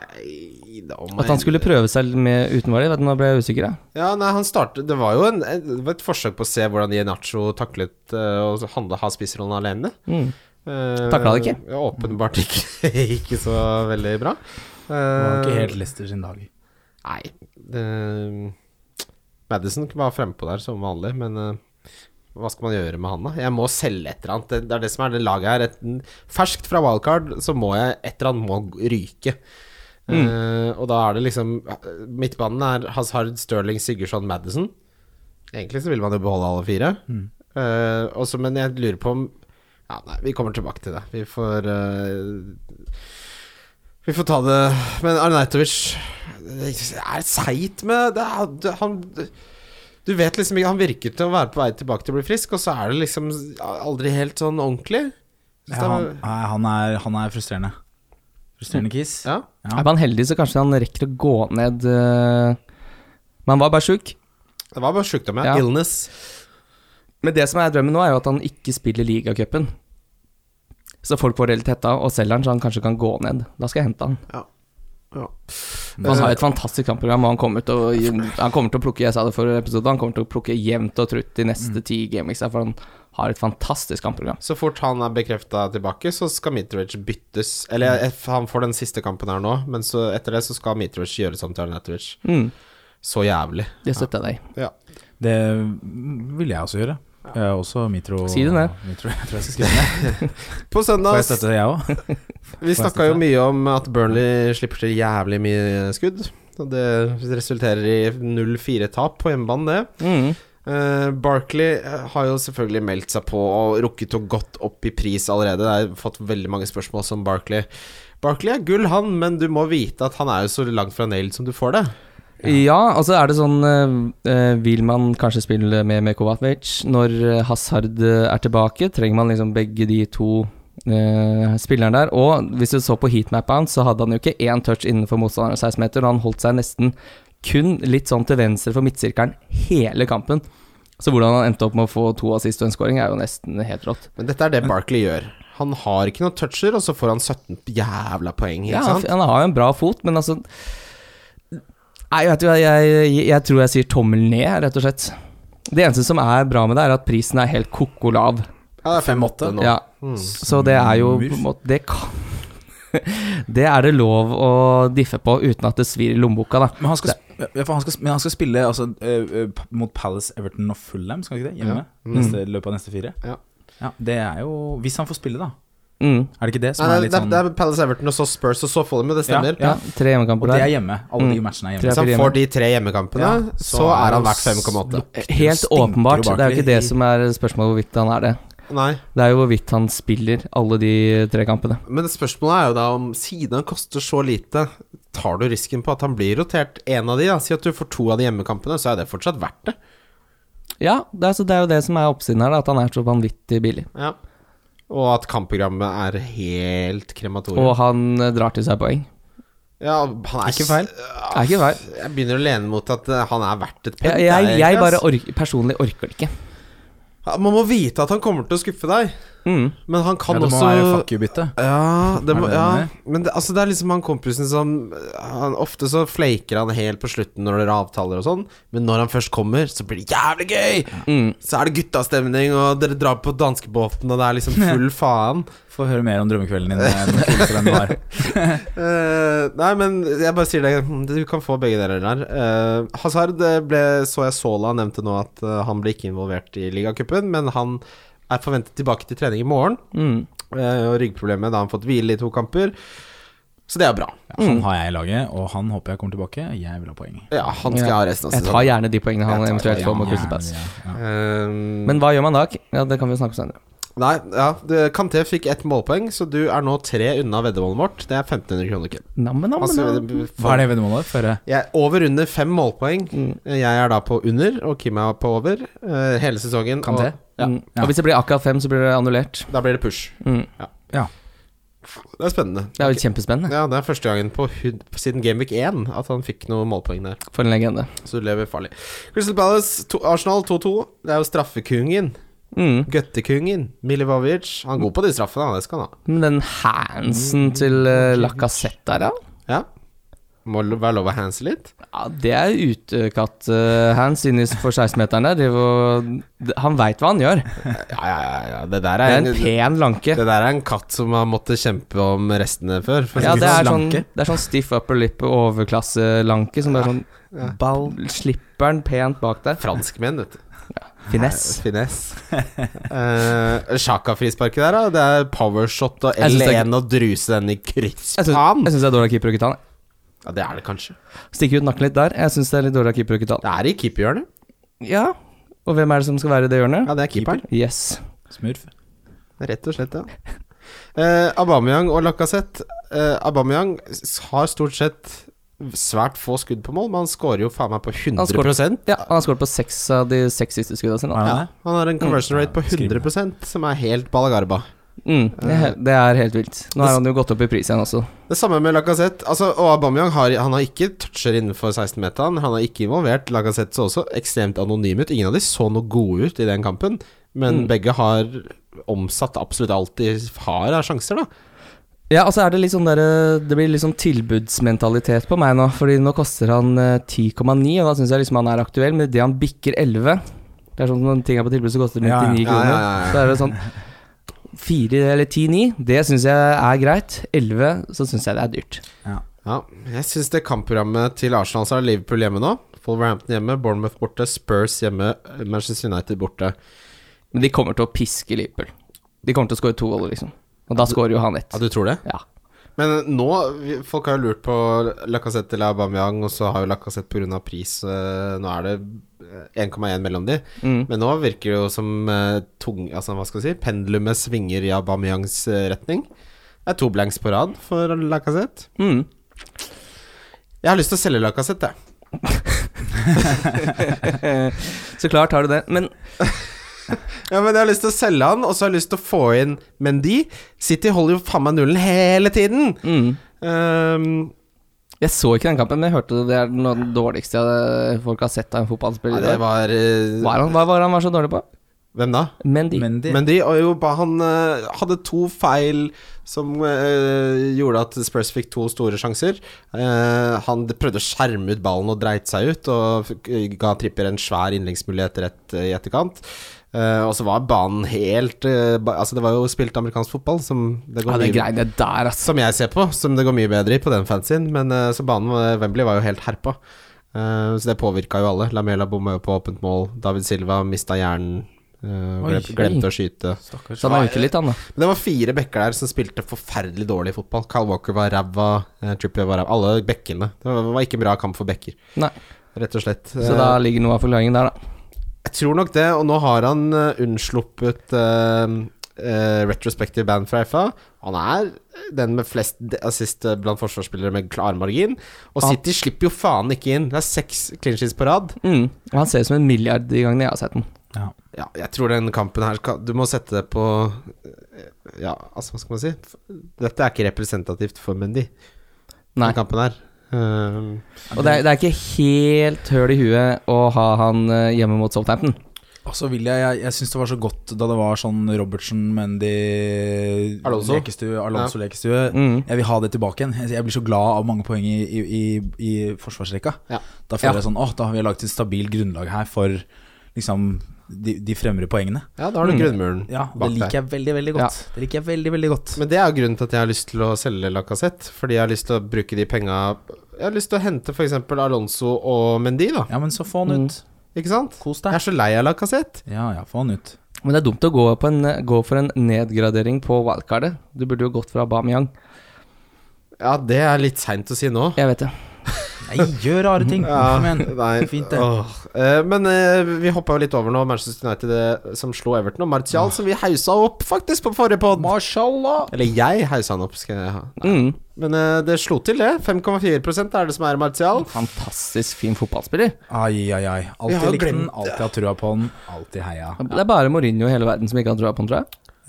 Nei, da må At han jeg- skulle prøve seg med uten Vardy? Vet du, Nå ble jeg usikker, jeg. Ja, nei, han startet Det var jo en, det var et forsøk på å se hvordan Ienacho taklet uh, å handle ha spissrollen alene. Mm. Eh, Taklet det ja, Åpenbart ikke, ikke så veldig bra. Eh, Det var ikke helt Leicester sin dag. Nei. det- Madison var frempå der som vanlig, men eh, hva skal man gjøre med han, da? Jeg må selge et eller annet. Det, det er det som er det laget her. Et, ferskt fra wildcard, så må jeg et eller annet må ryke. Eh, og da er det liksom Midtbanen er Hazard, Sterling, Sigurdsson, Madison. Egentlig så vil man jo beholde alle fire. Eh, også, men jeg lurer på om Ja, nei, vi kommer tilbake til det. Vi får eh, Vi får ta det Men Arnautovic Det er seigt med det er, det, Han Du vet liksom ikke Han virker til å være på vei tilbake til å bli frisk, og så er det liksom aldri helt sånn ordentlig. Så Ja, det han, var- nei, han, er, han er frustrerende. Mm. Frustrerende kiss. ja. Ja. Er man heldig, så kanskje han rekker å gå ned eh, Men han var bare sjuk. Det var bare sjukdom, ja. Ja. Illness. Men det som er drømmen nå, er jo at han ikke spiller ligacupen. Så folk får reelt hetta og selger han, så han kanskje kan gå ned. Da skal jeg hente han. Ja. Ja. For Eh, Han har jo et fantastisk kampprogram, og han kommer til å, han kommer til å plukke Jeg sa det forrige episode, han kommer til å plukke jevnt og trutt de neste ti gameweeks, for han har et fantastisk kampprogram. Så fort han er bekrefta tilbake, så skal Mitrovic byttes. Eller eh, han får den siste kampen her nå, men så etter det så skal Mitrovic gjøres om til Arnatovic. Mm, Så jævlig. det støtter jeg deg i. Ja. Det ville jeg også gjøre. Jeg er også Mitro. Si det ned. Mitro, jeg tror jeg skal skrive det ned. På Får søndag jeg støtte, jeg òg? Vi Får jeg snakka jo støtte? mye om at Burnley slipper til jævlig mye skudd. Og det resulterer i 0-4-tap på hjemmebane, det. Mm. Eh, Barkley har jo selvfølgelig meldt seg på og rukket å gått opp i pris allerede. Det har fått veldig mange spørsmål som Barkley. Barkley er gull, han, men du må vite at han er jo så langt fra nailed som du får det. Ja, altså er det sånn eh, eh, Vil man kanskje spille med med Kovacic når eh, Hazard eh, er tilbake? Trenger man liksom begge de to eh, spillerne der? Og hvis du så på heatmappa hans, så hadde han jo ikke én touch innenfor motstanderens 16 meter, og han holdt seg nesten kun litt sånn til venstre for midtsirkelen hele kampen. Så hvordan han endte opp med å få to assist og en scoring, er jo nesten helt rått. Men dette er det Barkley gjør. Han har ikke noen toucher, og så får han 17 jævla poeng. Ikke Ja, sant? han har jo en bra fot, men altså Nei, vet du hva, jeg, jeg, jeg tror jeg sier tommel ned, rett og slett. Det eneste som er bra med det, er at prisen er helt koko lav. Ja, det er 5-8 nå. Ja, Mm. så det er jo på en måte Det kan Det er det lov å diffe på uten at det svir i lommeboka, da. Men han skal, sp- ja, for han skal, men han skal spille altså, eh, eh, p- mot Palace, Everton og Fulham, skal han ikke det? Hjemme? Ja. Mm. Neste, i løpet av neste fire? Ja. Ja, Det er jo Hvis han får spille, da. Mm, Er det ikke det som Nei, er det, litt er, sånn det er Palace Everton og så Spurs og så Fulham, men det Ja, stemmer. ja, tre Og hjemmekamper det er der. hjemme. Alle de Mm. matchene er Tre- hjemme. Hvis han får de tre hjemmekampene, Ja, så, så er er han det verdt 5,8. Helt Stinker jo åpenbart. Det er jo ikke det Barkley. som er spørsmålet hvorvidt han er det. Eh, Nei, Det er jo hvorvidt han spiller alle de tre kampene. men spørsmålet er jo da om siden han koster så lite, tar du risken på at han blir rotert én av de? da Si at du får to av de hjemmekampene, så er det fortsatt verdt det. Ja, det er, så det er jo det som er oppsiden her, da, at han er så vanvittig billig. Ja. Og at kampprogrammet er helt krematorium. Og han eh, drar til seg poeng. ja, han er Ikke feil. Er ikke feil. Jeg begynner å lene mot at eh, han er verdt et Jeg, pent. jeg, jeg, jeg ass. bare ork, personlig orker det ikke. Ja, Man må vite at han kommer til å skuffe deg, Mm. men han kan ja, det må også være fuck you-bytte. Ja, det Er må, det ja. det? men det, altså det er liksom han kompisen som han, Ofte så flaker han helt på slutten når dere avtaler og sånn, men når han først kommer, så blir det jævlig gøy! Mm. Så er det guttastemning, og dere drar på danskebåten, og det er liksom full faen. Få høre mer om drømmekvelden din. eh, når Solskjær er var. Eh, nei, men jeg bare sier det, hm, du kan få begge deler der. Eh, Hazard eh, ble, så jeg Sola nevnte nå at eh, han ble ikke involvert i ligacupen, men han er forventet tilbake til trening i morgen. Mm. eh, og ryggproblemet, da har han fått hvile i to kamper. Så det er bra. Ja, Han har jeg i laget, og han håper jeg kommer tilbake. Jeg vil ha poeng. Ja, han skal Ja. ha resten av Jeg tar gjerne de poengene han Jeg tar eventuelt det, får ja, mot Crystal Pass. Ja. Ehm, Men hva gjør man da? Ja, det kan vi jo snakke om senere. Nei, ja. det- Kanté fikk ett målpoeng, så du er nå tre unna veddemålet vårt. Det er 1500 kroner. Kim. Nammen, nammen, nammen. Altså, Hva for, er det veddemålet? Føre jeg er over under fem målpoeng. Mm. Jeg er da på under, og Kim er på over. eh, hele sesongen. Kanté? Og, ja, Mm. Og hvis det blir akkurat fem, så blir det annullert. da blir det push. Mm. Det er spennende. Det er jo kjempespennende Ja, Det er første gangen på, hud- siden Gameweek 1 at han fikk noen målpoeng der. for en legende. Så du lever farlig. Crystal Palace, to, Arsenal 2-2. Det er jo straffekungen. Mm. Gøttekungen. Milivovic. Han er god på de straffene, han, det skal han ha. Men den Hansen til uh, Lacassette der, ja. Ja. Må lo- være lov å hanse litt. Ja, Det er utekatt-hands uh, inne for 16-meterne. Det var- Han veit hva han gjør. Ja, ja, ja, ja. Det der Det er er en, en pen det lanke. der er en katt som har måttet kjempe om restene før. For å Ja, si det er sånn, Lanke. det er sånn stiff upper lip overklasse-lanke. Som bare Ja. sånn ball Slipper den pent bak der. Franskmenn, vet du. Finesse. Finesse. Eh, Sjaka-frisparket der, da. Det er powershot og Jeg synes det er- L1 og druse den i Jeg syns krysspan. det er dårlig av keeper å ikke ta den. Ja, det er det kanskje. Stikker ut nakken litt der. Jeg syns det er litt dårlig av keeper å ikke ta den. Det er i keeperhjørnet. Ja. Og hvem er det som skal være i det hjørnet? Ja, det er keeperen. Yes. smurf. Rett og slett, ja. Eh, Aubameyang og Lacassette. Eh, Aubameyang s- har stort sett svært få skudd på mål, men han scorer jo faen meg på Han 100 scorer- Ja, han har skåret på seks av de seks siste skuddene sine. da. Ja. Ja, han har en conversion rate på Skriv det. 100 som er helt balagarba. Mm, det er he- det er helt vilt. Nå har han jo gått opp i pris igjen også. Det samme med Lacassette. Altså, og Aubameyang har, han har ikke toucher innenfor 16-meteren. Han er ikke involvert. Lacassette så også ekstremt anonym ut. Ingen av de så noe gode ut i den kampen, men begge har omsatt absolutt alt de har av sjanser, da. Ja, altså er det litt sånn der, eh, Det blir litt sånn tilbudsmentalitet på meg nå, Fordi nå koster han eh, 10,9, og da syns jeg liksom han er aktuell, men idet han bikker 11 Det er sånn når ting er på tilbud, så koster det Ja, ja. 99 Ja, kroner. ja, ja, ja. Så er det sånn 4 eller 10,9, det syns jeg er greit. 11, så syns jeg det er dyrt. Ja, jeg syns det kampprogrammet til Arsenal så er Liverpool hjemme nå. Wolverhampton hjemme, Bournemouth borte, Spurs hjemme, Manchester United borte. Men de kommer til å piske Liverpool. De kommer til å skåre to goller, liksom. Og da skårer jo han ett. Ja, du tror det? Ja. Men nå vi- Folk har jo lurt på Lacassette eller Aubameyang, og så har jo Lacassette pga. pris eh, Nå er det eh, 1,1 mellom de. Mm. Men nå virker det jo som eh, tung, altså, hva skal jeg si, pendulumet svinger i Aubameyangs eh, retning. Det er to blanks på rad for Lacassette. Mm. Jeg har lyst til å selge Lacassette, jeg. Mm. Så klart har du det. Men Ja, men jeg har lyst til å selge han, og så har jeg lyst til å få inn Mendy. City holder jo faen meg nullen hele tiden! mm. Ehm, Jeg så ikke den kampen, men jeg hørte det er noe av det dårligste jeg- folk har sett av en fotballspiller. nei, i det dag. var eh, Hva er han- hva var han var så dårlig på? Hvem da? Mendy. Mendy. Men de, og jo, ba- han eh, hadde to feil som eh, gjorde at Spurs fikk to store sjanser. Eh, han prøvde å skjerme ut ballen og dreit seg ut, og fikk- ga Tripper en svær innleggsmulighet rett eh, i etterkant. Eh, og så var banen helt eh, ba, Altså, det var jo spilt amerikansk fotball, som det går Ja, det mye greiene der, ass. Som jeg ser på, som det går mye bedre i på den fansien. Men eh, så banen uh, Wembley var jo helt herpa. Eh, så det påvirka jo alle. Lamela bomma jo på åpent mål. David Silva mista hjernen. eh, Oi. glem, glemte å skyte. Stakkars. Så han er ute litt, han da. Men det var fire bekker der som spilte forferdelig dårlig fotball. Kyle Walker var ræva, eh, Trippier var ræva. Alle bekkene. Det var, var ikke en bra kamp for bekker, Nei. rett og slett. Så Eh, da ligger noe av forklaringen der, da. Jeg tror nok det, og nå har han eh, unnsluppet eh, eh, retrospective band fra FA. Han er den med flest de- assist eh, blant forsvarsspillere med klar margin. Og Han- City slipper jo faen ikke inn. Det er seks clinches på rad. Mm. Og han ser ut som en milliard de gangene jeg har sett den. Ja, jeg tror den kampen her skal Du må sette det på eh, Ja, altså, hva skal man si? Dette er ikke representativt for Mendy, Nei. den kampen her. Eh, Og det er, det er ikke helt høl i huet å ha han eh, hjemme mot Southampton. Altså vil jeg, jeg, jeg syns det var så godt da det var sånn Robertsen, Mendy Alonso. Lekestue, Alonso lekestue. Mm. Jeg vil ha det tilbake igjen. Jeg- Jeg blir så glad av mange poeng i, i, i, i forsvarsrekka. Ja. Da føler Ja. jeg sånn åh, da har vi laget et stabilt grunnlag her for liksom de, de fremre poengene. ja, da har du Mm. grunnmuren Ja, og bak det deg. liker jeg veldig, veldig godt. Det liker jeg veldig, veldig godt. Men det er jo grunnen til at jeg har lyst til å selge Lacassette. Fordi jeg har lyst til å bruke de penga Jeg har lyst til å hente f.eks. Alonso og Mendy, da. Ja, men så få han ut. Ikke sant? Kos Jeg deg. er så lei av Lacassette. Ja, ja, få han ut. Men det er dumt å gå, på en, gå for en nedgradering på wildcardet. Du burde jo gått for Aubameyang. Ja, det er litt seint å si nå. Jeg vet det. Nei, gjør rare ting. Ja, Kom igjen. nei, Fint det. åh. Eh, men eh, vi hoppa jo litt over nå. Manchester United eh, som slo Everton, og Martial som vi hausa opp faktisk på forrige pod. Mashallah. Eller jeg hausa han opp, skal jeg ha. Mm. Men eh, det slo til, det. 5,4 er det som er Martial. Fantastisk fin fotballspiller. Ai, ai, ai. Vi har Alltid likt den, glemt alltid hatt trua på den, alltid heia. Det er bare Mourinho i hele verden som ikke har trua på han, tror jeg.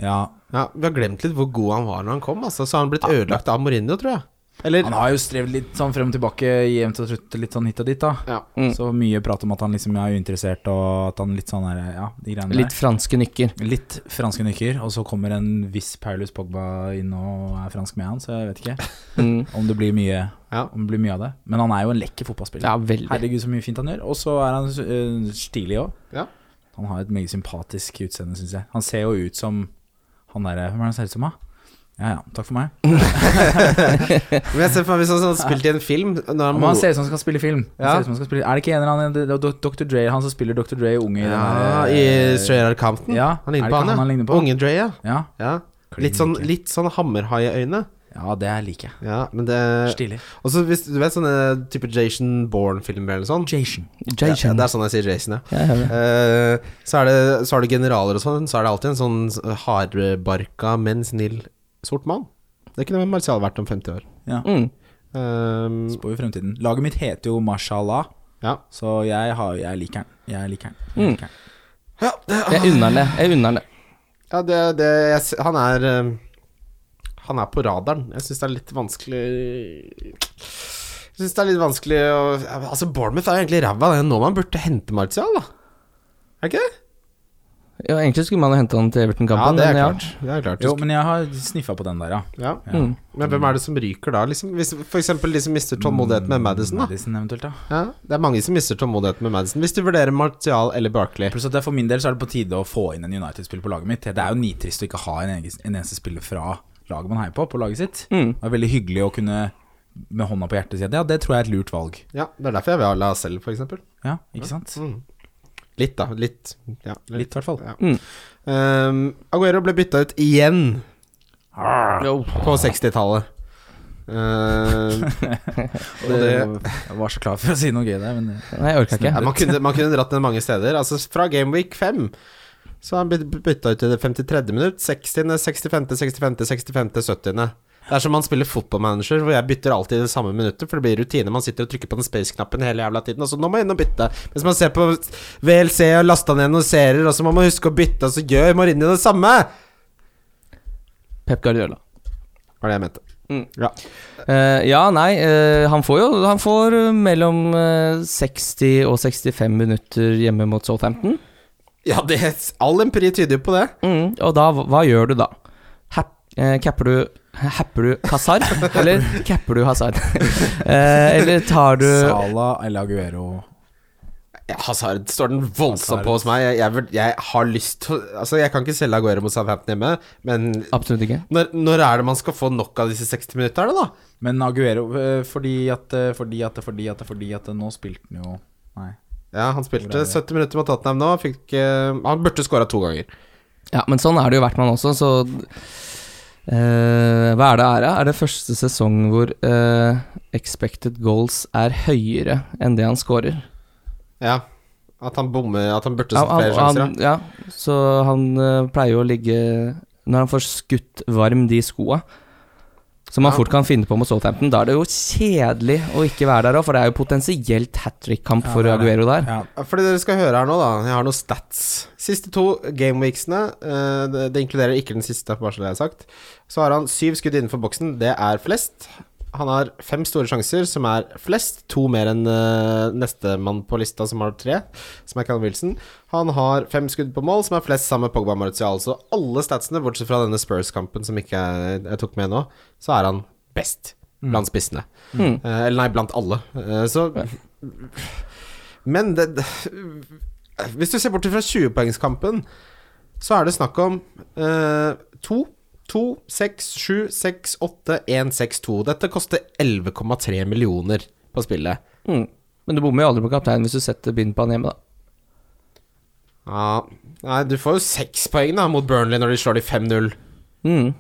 Ja. Ja, Vi har glemt litt hvor god han var når han kom. Altså, så har han blitt ødelagt av Mourinho, tror jeg. Eller Han har jo strevd litt sånn frem og tilbake, jevnt og trutt, litt sånn hit og dit, da. ja. Mm. Så mye prat om at han liksom er uinteressert, og at han litt sånn er Ja, de greiene Litt franske nykker. der. Litt franske nykker, og så kommer en viss Paulus Pogba inn og er fransk med han, så jeg vet ikke Mm. om det blir mye, Ja. om det blir mye av det. Men han er jo en lekker fotballspiller. Ja, veldig. Herregud, så mye fint han gjør. Og så er han øh, stilig òg. Ja. Han har et meget sympatisk utseende, syns jeg. Han ser jo ut som han derre Hvem er det han ser ut som, da? Ja ja, takk for meg. Men jeg ser for meg hvis han hadde spilt i en film når han Men mor- han ser ut som han skal spille film. Han Ja. ser ut som han skal spille. Er det ikke en eller annen det er Do- Dr. Dre, han som spiller Dr. Dre unge i den Ja, her, eh, i Strayard Campton. Ja, Han er ligner det på ikke han, ja. han ligner på? Unge Dre, ja. Ja. ja. Litt sånn, litt sånn hammerhaiøyne. ja, det liker jeg. Ja, men det Stilig. Og så hvis du vet sånne type Jason Bourne-filmer eller sånn Jason. ja, Jay ja, Chen. Det er sånn jeg sier Jason, ja. Jeg hører det. Eh, så, er det, så har du generaler og sånn, så er det alltid en sånn hardbarka, men snill sort mann. Det kunne Martial vært om 50 år. Mm. Um, Spår jo fremtiden. Laget mitt heter jo Mashallah, ja. så jeg, har, jeg liker den. Jeg liker den. Jeg Mm. liker den. Jeg unner han det. Jeg unner han det. Ja, det, det jeg, s- Han er eh, Han er på radaren. Jeg syns det er litt vanskelig Jeg syns det er litt vanskelig å Altså, Bournemouth er jo egentlig ræva. Det er nå man burde hente Martial, da. Er det ikke det? Ja, egentlig skulle man jo hente han til Ja, Everton-kampen. det er men klart. Det er klart. Jo, men jeg har sniffa på den der, ja. ja. ja. Mm. Men hvem er det som ryker da? Liksom, hvis, for eksempel de som mister tålmodigheten med Madison. Sånn, Da. Madison eventuelt, ja. Ja, det er mange som mister tålmodigheten med Madison. Hvis du vurderer Martial eller Barkley. Pluss at det er for min del så er det på tide å få inn en United-spiller på laget mitt. Det er jo nitrist å ikke ha en, egen, en eneste spiller fra laget man heier på, på laget sitt. Mm. Det er veldig hyggelig å kunne med hånda på hjertet si at ja, det tror jeg er et lurt valg. Ja, Det er derfor jeg vil ha Lacelle, for eksempel. Ja, ikke sant? Mm. Litt, da. Litt. Ja, litt, i hvert fall. Ja. Mm. Ehm, Aguero ble bytta ut igjen Jo. på 60-tallet. Ehm, Og det, jeg var så klar for å si noe gøy der, men eh, Nei, jeg orka ja, ikke. man, kunne, man kunne dratt den mange steder. Altså Fra Gameweek 5 så har han blitt bytta ut i det 53. minutt. 60., 65., 65., 65., 70. Det er som man spiller fotballmanager, hvor jeg bytter alltid i det samme minuttet, for det blir rutine. Man sitter og trykker på den space-knappen hele jævla tiden, og så nå må jeg inn og bytte. Mens man ser på VLC og lasta ned noen serier, og så må man huske å bytte, og så gjør Mourinho det samme! Pep Guardiola. Var det jeg mente. Mm. Ja. Eh, ja, nei, eh, han får jo Han får eh, mellom eh, 60 og 65 minutter hjemme mot Southampton. Ja, det, all empiri tyder jo på det. Mm, og da, hva gjør du da? Hap, eh, capper du Happer du Hazard, eller capper du Hazard? eh, eller tar du Sala eller Aguero Ja, Hazard står den voldsomt på hos meg. Jeg, jeg, vurd- jeg har lyst til å- Altså, jeg kan ikke selge Aguero mot Southampton hjemme, men Absolutt ikke. når, når er det man skal få nok av disse 60 minutterne, da? Men Aguero eh, fordi at eh, Fordi at Fordi at Fordi at eh, Nå spilte han jo Nei. Ja, han Hvor er spilte det? 70 minutter mot Tottenham nå. Fikk, eh, han burde skåra to ganger. Ja, men sånn er det jo Wertmann også, så eh, Hva er det ære? Er det første sesong hvor eh, expected goals er høyere enn det han scorer? Ja. At han bommer At han burde Ja, satt flere han, sjanser, han, ja, så han eh, pleier jo å ligge Når han får skutt varm de skoa, som han Ja. fort kan finne på mot Southampton, da er det jo kjedelig å ikke være der òg, for det er jo potensielt hat trick-kamp Ja, for det er det. Aguero der. Ja. ja. Fordi dere skal høre her nå, da. Jeg har noen stats. Siste to gameweeksene, eh, det, det inkluderer ikke den siste, bare så det er sagt. Så har han syv skudd innenfor boksen. Det er flest. Han har fem store sjanser, som er flest. To mer enn uh, nestemann på lista, som har tre, som er Callum Wilson. Han har fem skudd på mål, som er flest sammen med Pogba og Martial. Så alle statsene, bortsett fra denne Spurs-kampen som ikke jeg, jeg tok med nå, så er han best blant spissene. Mm. Eh, eller nei, blant alle. Eh, så Men det, det Hvis du ser bort fra 20-poengskampen, så er det snakk om eh, to 2, 6, 7, 6, 8, 1, 6, 2. Dette koster 11,3 millioner på spillet. Mm. Men du bommer jo aldri på kapteinen hvis du setter bind på han hjemme, da. Ja, nei, du får jo seks poeng da mot Burnley når de slår de 5-0. Mm.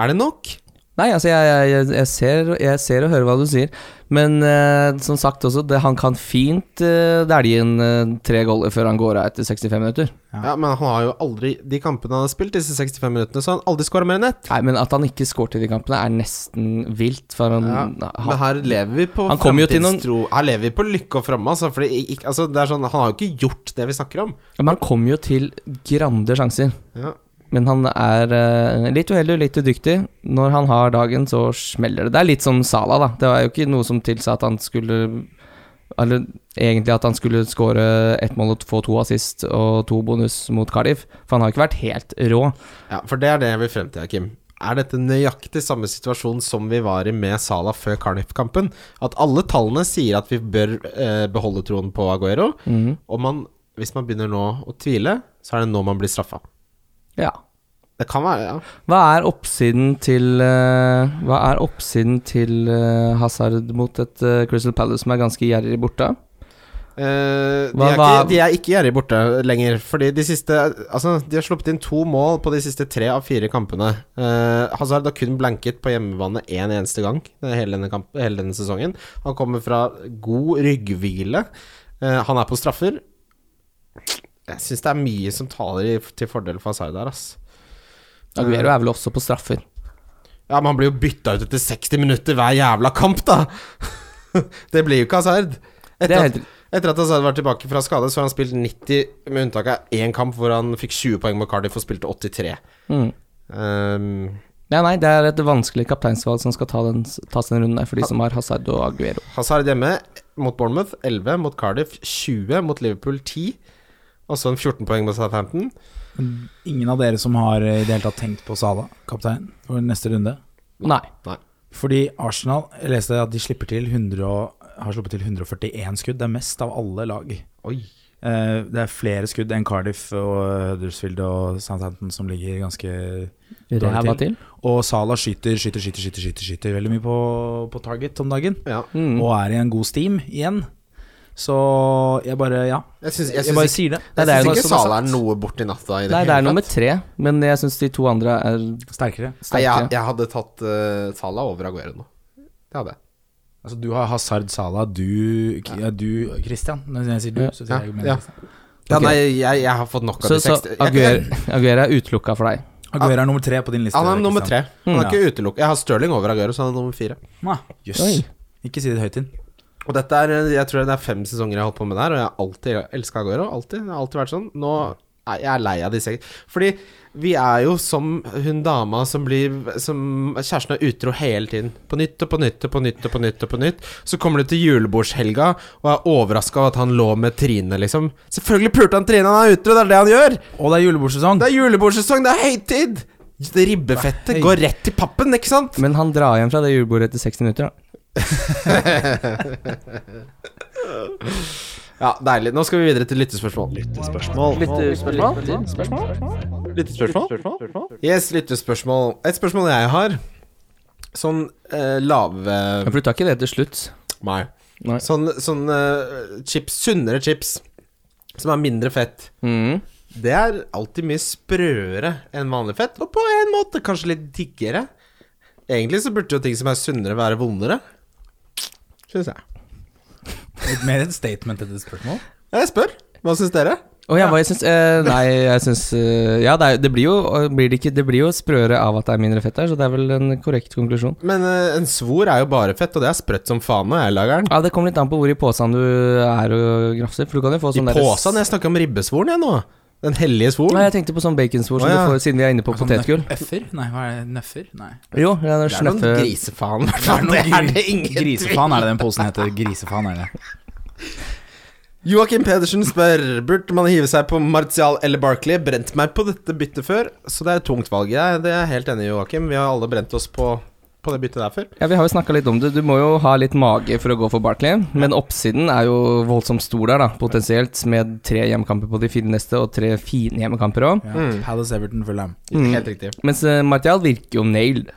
Er det nok? Nei, altså, jeg, jeg, jeg- jeg, ser, jeg ser og hører hva du sier, men eh, som sagt også, det, han kan fint eh, dælje inn eh, tre goller før han går av etter 65 minutter. Ja. Ja, Men han har jo aldri De kampene han har spilt, disse 65 minuttene, så har han aldri scora mer enn ett. Nei, men at han ikke skåret i de kampene, er nesten vilt. For han, Ja, han, Men her lever vi på Mm, Han kommer jo til noen- framtidstro. Her lever vi på lykke og framme, altså. Fordi, ikk- altså det er sånn, han har jo ikke gjort det vi snakker om. Ja, Men han kom jo til grande sjanser. Ja. Men han er eh, litt uheldig og litt udyktig. Når han har dagen, så smeller det. Det er litt som Sala, da. Det var jo ikke noe som tilsa at han skulle Eller egentlig at han skulle skåre ett mål og få to assist og to bonus mot Cardiff. For han har jo ikke vært helt rå. Ja, for det er det jeg vil frem til, Kim. Er dette nøyaktig samme situasjon som vi var i med Salah før Carnif-kampen? At alle tallene sier at vi bør eh, beholde troen på Aguero. Mhm. Og man, hvis man begynner nå å tvile, så er det nå man blir straffa. Ja. Det kan være, ja. Hva er oppsiden til eh, Hva er oppsiden til eh, Hazard mot et eh, Crystal Palace som er ganske gjerrig borte? Eh, de, Hva- er hva- ikke, de er ikke gjerrige borte lenger. Fordi de siste Altså, de har sluppet inn to mål på de siste tre av fire kampene. Eh, Hazard har kun blanket på hjemmebane én eneste gang eh, hele denne, kamp, hele denne sesongen. Han kommer fra god rygghvile. Eh, han er på straffer. Jeg syns det er mye som taler i, til fordel for Hazard der, ass. Aguero er vel også på straffer. Ja, men han blir jo bytta ut etter 60 minutter hver jævla kamp, da! det blir jo ikke Hazard. Det er Etter at helt etter at Hazard var tilbake fra skade, så har han spilt 90, med unntak av én kamp hvor han fikk 20 poeng mot Cardiff og spilte 83. mm. Ehm, Ja, nei, det er et vanskelig kapteinsvalg som skal ta den, tas den runden der, for de som har Hazard og Aguero. Hazard hjemme mot Bournemouth, 11 mot Cardiff, 20 mot Liverpool, 10. Og så en 14 poeng mot Southampton. Men Ingen av dere som har eh, i det hele tatt tenkt på Sala, kaptein, for neste runde? Nei. Fordi Arsenal jeg leste at de slipper til 100 og, har sluppet til 141 skudd. Det er mest av alle lag. Oi. Eh, det er flere skudd enn Cardiff og eh, Huddersfield og Southampton som ligger ganske Ræva til. Og Sala skyter, skyter, skyter, skyter, skyter, skyter veldig mye på, på target om dagen. Ja. Mm. Og er i en god steam igjen. Så jeg bare Ja. Jeg syns Jeg bare sier det. Nei, det er ikke jo noe som er Sala er sant. noe borti natta i det Nei, det er hele nummer tatt. tre, men jeg syns de to andre er Sterkere. Nei, jeg, sterke. jeg hadde tatt eh, Sala over Aguero nå. Det hadde jeg. Altså, du har Hazard Salah, du, ja, du Christian. Når jeg sier du, så sier jeg Ja, men ja. Christian. Ja, Ok. nei, jeg, jeg har fått nok av Så, de så 60. Jeg- Aguero, Aguero er utelukka for deg. Aguero er nummer tre på din liste. Han er nummer tre. Christian. Han er Mm. ikke utelukket. Jeg har Stirling over Aguero, så han er nummer fire. Nei, Jøss. Oi. Ikke si det høyt inn. Og dette er, eh, jeg tror det er fem sesonger jeg har holdt på med der, og jeg har alltid elska Aguero. Alltid. Det har alltid vært sånn. Nå er jeg er lei av disse Fordi vi er jo som hun dama som blir Som kjæresten er utro hele tiden. På nytt og på nytt og på nytt og på nytt. og på nytt Så kommer du til julebordshelga og er overraska over at han lå med Trine, liksom. Selvfølgelig pulte han Trine, han er utro, det er det han gjør! Og det er julebordsesong. Det er julebordsesong, det er høytid! Det ribbefettet Hei. går rett i pappen, ikke sant? Men han drar hjem fra det julebordet etter 60 minutter, da. Ja, deilig. Nå skal vi videre til lyttespørsmål. Yes, lyttespørsmål. Et spørsmål jeg har, sånn eh, lave Ja, For du tar ikke det til slutt? Nei. Nei. Sånn, sånn eh, chips, sunnere chips, som er mindre fett. Mm. Det er alltid mye sprøere enn vanlig fett, og på en måte kanskje litt diggere. Egentlig så burde jo ting som er sunnere, være vondere. Syns jeg. Litt mer et statement etter et spørsmål. Jeg spør. Hva syns dere? Å ja, hva jeg syns eh, Nei, jeg syns eh, Ja, det, er, det blir jo blir det, ikke, det blir jo sprøere av at det er mindre fett der, så det er vel en korrekt konklusjon. Men eh, en svor er jo bare fett, og det er sprøtt som faen når jeg lager den. Ja, Det kommer litt an på hvor i posen du er og grafser. For du kan jo få I sånn der- posen? Jeg snakker om ribbesvoren, jeg nå. Den hellige svoren. Nei, jeg tenkte på sånn baconsvor Å, som ja. du får siden vi er inne på Sånn potetgull. nø- Øffer? Nei, hva er det? Nøffer? Nei. Jo, ja, det Det er er noen snøffe grisefaen. i hvert Det er fall. noe Det er gri- det ingen tvil Grisefan er det den posen heter. Grisefan er det. Joakim Pedersen spør Burde man hive seg på Martial eller Barkley? Brent meg på dette byttet før, så det er et tungt valg. Jeg, det er jeg helt enig i, Joakim. Vi har alle brent oss på, på det byttet der før. Ja, Vi har jo snakka litt om det. Du må jo ha litt mage for å gå for Barkley. Men oppsiden er jo voldsomt stor der, da, potensielt. Med tre hjemmekamper på de fire neste, og tre fine hjemmekamper òg. Ja. Palace Everton Fulham. Mm. Helt riktig. Mens eh, Martial virker jo nailed.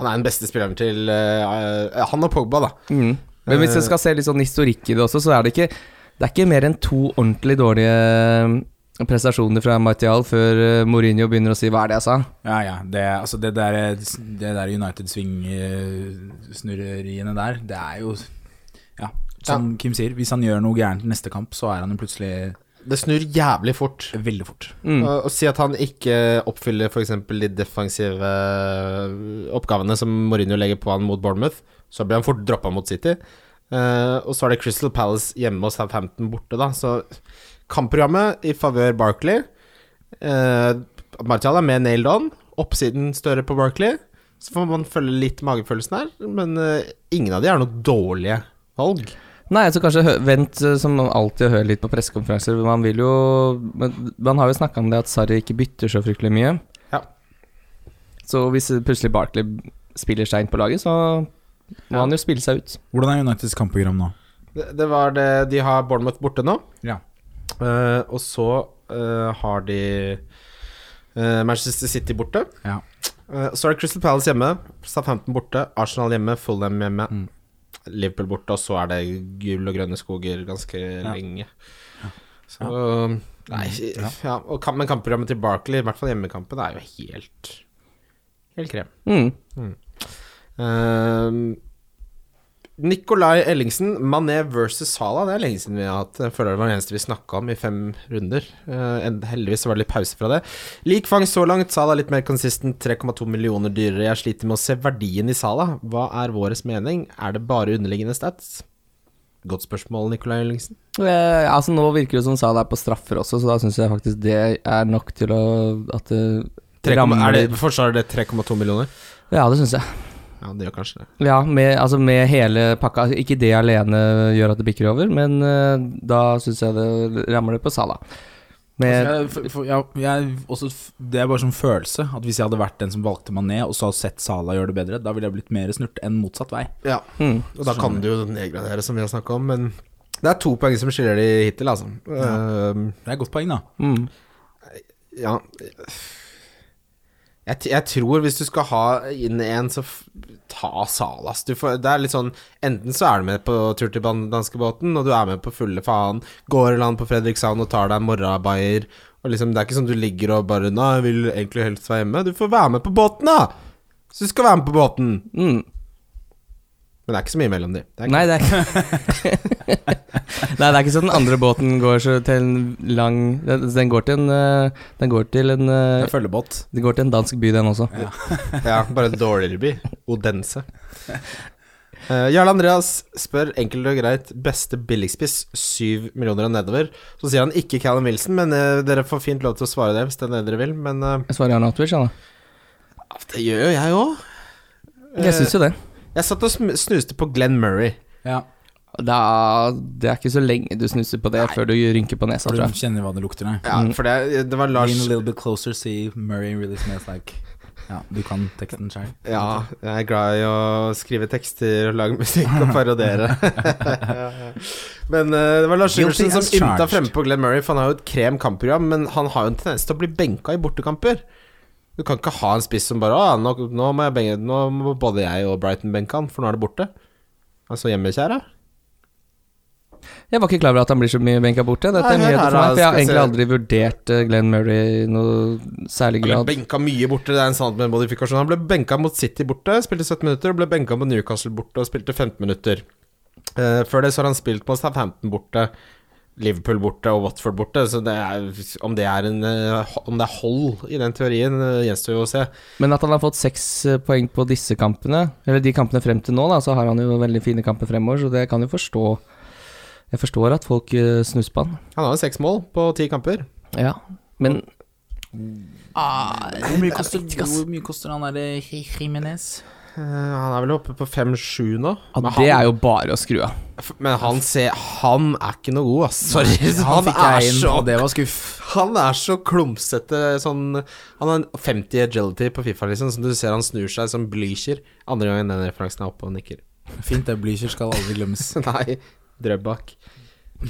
Han er den beste spilleren til eh, eh, Han og Pogba, da. Mm. Men hvis jeg skal se litt sånn historikk i det også, så er det ikke Det er ikke mer enn to ordentlig dårlige eh, prestasjoner fra Martial før eh, Mourinho begynner å si 'hva er det jeg sa'? Ja, ja. Det, altså, det der, det der United-svingsnurreriene der, det er jo Ja, som Kim sier, hvis han gjør noe gærent neste kamp, så er han jo plutselig Det snur jævlig fort. veldig fort. Mm. Å å si at han ikke oppfyller f.eks. de defensive eh, oppgavene som Mourinho legger på han mot Bournemouth, så blir han fort droppa mot City. Eh, og så er det Crystal Palace hjemme og Southampton borte, da. Så kampprogrammet i favør Barkley. Eh, Martial er med nailed on. Oppsiden større på Barkley. Så får man følge litt magefølelsen her, men eh, ingen av de er noe dårlige valg. Nei, så kanskje hø- vent eh, som alltid å høre litt på pressekonferanser. Man vil jo men Man har jo snakka om det at Sarri ikke bytter så fryktelig mye. Ja. Så hvis plutselig Barkley spiller seg inn på laget, så må Ja. han jo spille seg ut. Hvordan er Uniteds kampprogram nå? Det, det var det De har Bournemouth borte nå. Ja. Eh, og så eh, har de eh, Manchester City borte. Ja. Eh, så er det Crystal Palace hjemme, Southampton borte, Arsenal hjemme, Fulham hjemme. Mm. Liverpool borte, og så er det gull og grønne skoger ganske lenge. Så Nei, Mm. Ja. ja. Og kamp, men kampprogrammet til Barkley, i hvert fall hjemmekampen, er jo helt Helt krem. Mm. Uh, Nikolai Ellingsen, Mané versus Sala. Det er lenge siden vi har hatt. Jeg føler det var det eneste vi snakka om i fem runder. Eh, en- heldigvis så var det litt pause fra det. Lik fangst så langt. Sala litt mer consistent. 3,2 millioner dyrere. Jeg sliter med å se verdien i Sala. Hva er våres mening? Er det bare underliggende stats? Godt spørsmål, Nikolai Ellingsen. Eh, altså Nå virker det som Sala er på straffer også, så da syns jeg faktisk det er nok til å at eh, det 3, rammer er det, forsvarer det 3,2 millioner? Ja, det syns jeg. Ja, det gjør kanskje det. Ja, med, altså med hele pakka. Altså, Ikke det alene gjør at det bikker over, men eh, da syns jeg det rammer det på Sala. Med Altså, jeg, for, for, ja, jeg, også, f- det er bare sånn følelse at hvis jeg hadde vært den som valgte Mané, og så hadde sett Salah gjøre det bedre, da ville jeg blitt mer snurt enn motsatt vei. Ja, mm. Og da kan du jo nedgradere, som vi har snakka om, men det er to poeng som skiller de hittil, altså. Eh, Det er et godt poeng, da. Mm. Ja Jeg, t- jeg tror hvis du skal ha inn en, så f ta Salas. Du får, det er litt sånn Enten så er du med på tur til ban- danskebåten, og du er med på fulle faen, går i land på Fredrikshavn og tar deg en morrabayer, og liksom Det er ikke sånn du ligger og bare Nei, jeg vil egentlig helst være hjemme. Du får være med på båten, da! Så du skal være med på båten. Mm. Men det er ikke så mye mellom de. Det er ikke- Nei, det er ikke Nei, det er ikke så den andre båten går så til en lang Den den går til en eh, Den går til en Det eh, er følgebåt. Den går til en dansk by, den også. Ja, bare en dårligere by. Odense. Eh, Jarle Andreas spør enkelt og greit beste billigspiss, syv millioner og nedover. Så sier han ikke Callum Wilson, men eh, dere får fint lov til å svare det hvis det er det dere vil. Men eh, Jeg svarer gjerne Outwitch, jeg, det gjør jo jeg òg. da. Jeg syns jo det. Jeg satt og sm- snuste på Glenn Murray. Ja. Da, det er ikke så lenge du snuser på det før du rynker på nesa, Du tror jeg. kjenner hva det lukter, nei. Ja, for det, det var Lars Lean a little bit closer, see Murray really smells like Ja, du kan teksten sjøl. Ja, jeg er glad i å skrive tekster og lage musikk og parodiere. men eh, det var Lars Guilty Sivertsen som as ymta charged. fremme på Glenn Murray, for han har jo et krem kampprogram, men han har jo en tendens til å bli benka i bortekamper. Du kan ikke ha en spiss som bare Å, nå, nå må jeg benke Nå må både jeg og Brighton benke han, for nå er det borte. Altså hjemmekjære. Jeg var ikke klar over at han blir så mye benka borte. Dette er Nei, her nyheter er for meg, det, for jeg har skal egentlig se. aldri vurdert eh, Glenn Murray i noe særlig Han grad. ble benka mye borte, det er en sannhet med modifikasjon. Han ble benka mot City borte, spilte 17 minutter, og ble benka mot Newcastle borte og spilte 15 minutter. Eh, før det så har han spilt mot Southampton borte, Liverpool borte og Watford borte, så det er, om, det er en, eh, ho- om det er hold i den teorien, eh, gjenstår jo å se. Men at han har fått seks eh, poeng på disse kampene, eller de kampene frem til nå, da, så har han jo veldig fine kamper fremover, så det kan jo forstå. Jeg forstår at folk eh, snuser på han. Han har jo seks mål på ti kamper. Eh, Ja, men Hvor mye koster, hvor mye koster han derre Jimenez? Eh, han er vel oppe på 5-7 nå. ja, Men det han- er jo bare å skru av. f- Men han ser Han er ikke noe god, ass. Sorry. Han fikk er jeg inn, så og det var skuff. Han er så klumsete sånn Han har en 50 agility på Fifa, liksom, som du ser han snur seg som Blücher. Andre gangen den referansen er oppe og nikker. Fint, det. Blücher skal aldri glemmes. Nei, Drøbak.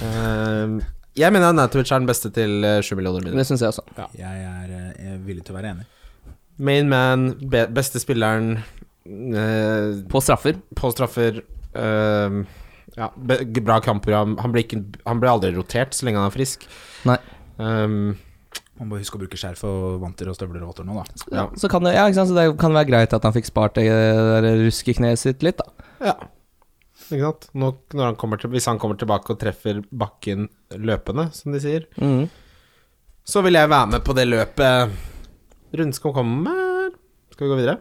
Ehm, jeg mener Natovic er den beste til eh, sju millioner Det mindre. syns jeg også. Jeg er, eh, jeg er villig til å være enig. Main man, be beste spilleren eh, På straffer. på straffer. ehm, ja, be bra kampprogram. Han blir, ikke, han blir aldri rotert så lenge han er frisk. Nei. Ehm, Man må huske å bruke skjerf og vanter og støvler og votter nå, da. Ja. Så kan det, ja, ikke sant? Så det kan være greit at han fikk spart det der ruskekneet sitt litt, da. Ja. Ikke sant? Nå, når han kommer til, hvis han kommer tilbake og treffer bakken løpende, som de sier, Mm. så vil jeg være med på det løpet Rundskog kommer. Skal vi gå videre?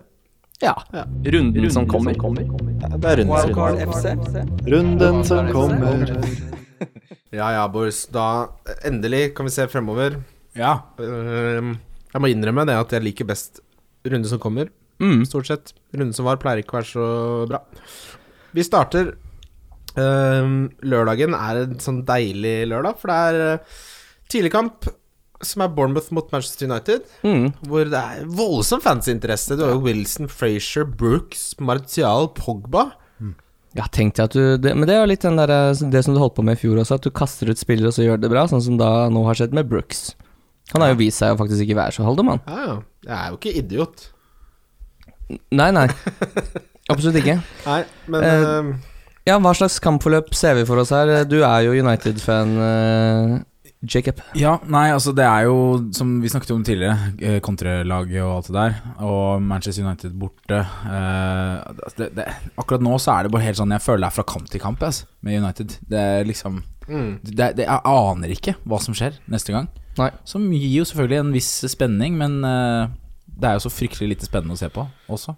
Ja. Runden som kommer. det er Wildcard FC. Runden som kommer. Ja ja, boys. Da endelig kan vi se fremover. Ja. Ehm, Jeg må innrømme det at jeg liker best runde som kommer, Mm. stort sett. Runde som var, pleier ikke å være så bra. Vi starter ehm, Lørdagen er en sånn deilig lørdag, for det er eh, tidligkamp som er Bournemouth mot Manchester United, Mm. hvor det er voldsom fansinteresse. Du har jo Wilson, Frazier, Brooks, Martial, Pogba. Ja, tenkte jeg at du det, Men det er jo litt den der, eh, det som du holdt på med i fjor også, at du kaster ut spillere og så gjør det bra, sånn som da nå har skjedd med Brooks. Han har jo vist seg å faktisk ikke være så haldemann. Ja, ja. Jeg er jo ikke idiot. Nei, nei. Absolutt ikke. Nei, men Eh, ehm, Ja, hva slags kampforløp ser vi for oss her? Du er jo United-fan, eh, Jacob. Ja, nei, altså det er jo, som vi snakket om tidligere, eh, kontralaget og alt det der, og Manchester United borte. Eh, det, det, akkurat nå så er det bare helt sånn jeg føler det er fra kamp til kamp jeg, altså, med United. Det er liksom mm. det, det, Jeg aner ikke hva som skjer neste gang. Nei. Som gir jo selvfølgelig en viss spenning, men eh, det er jo så fryktelig lite spennende å se på også.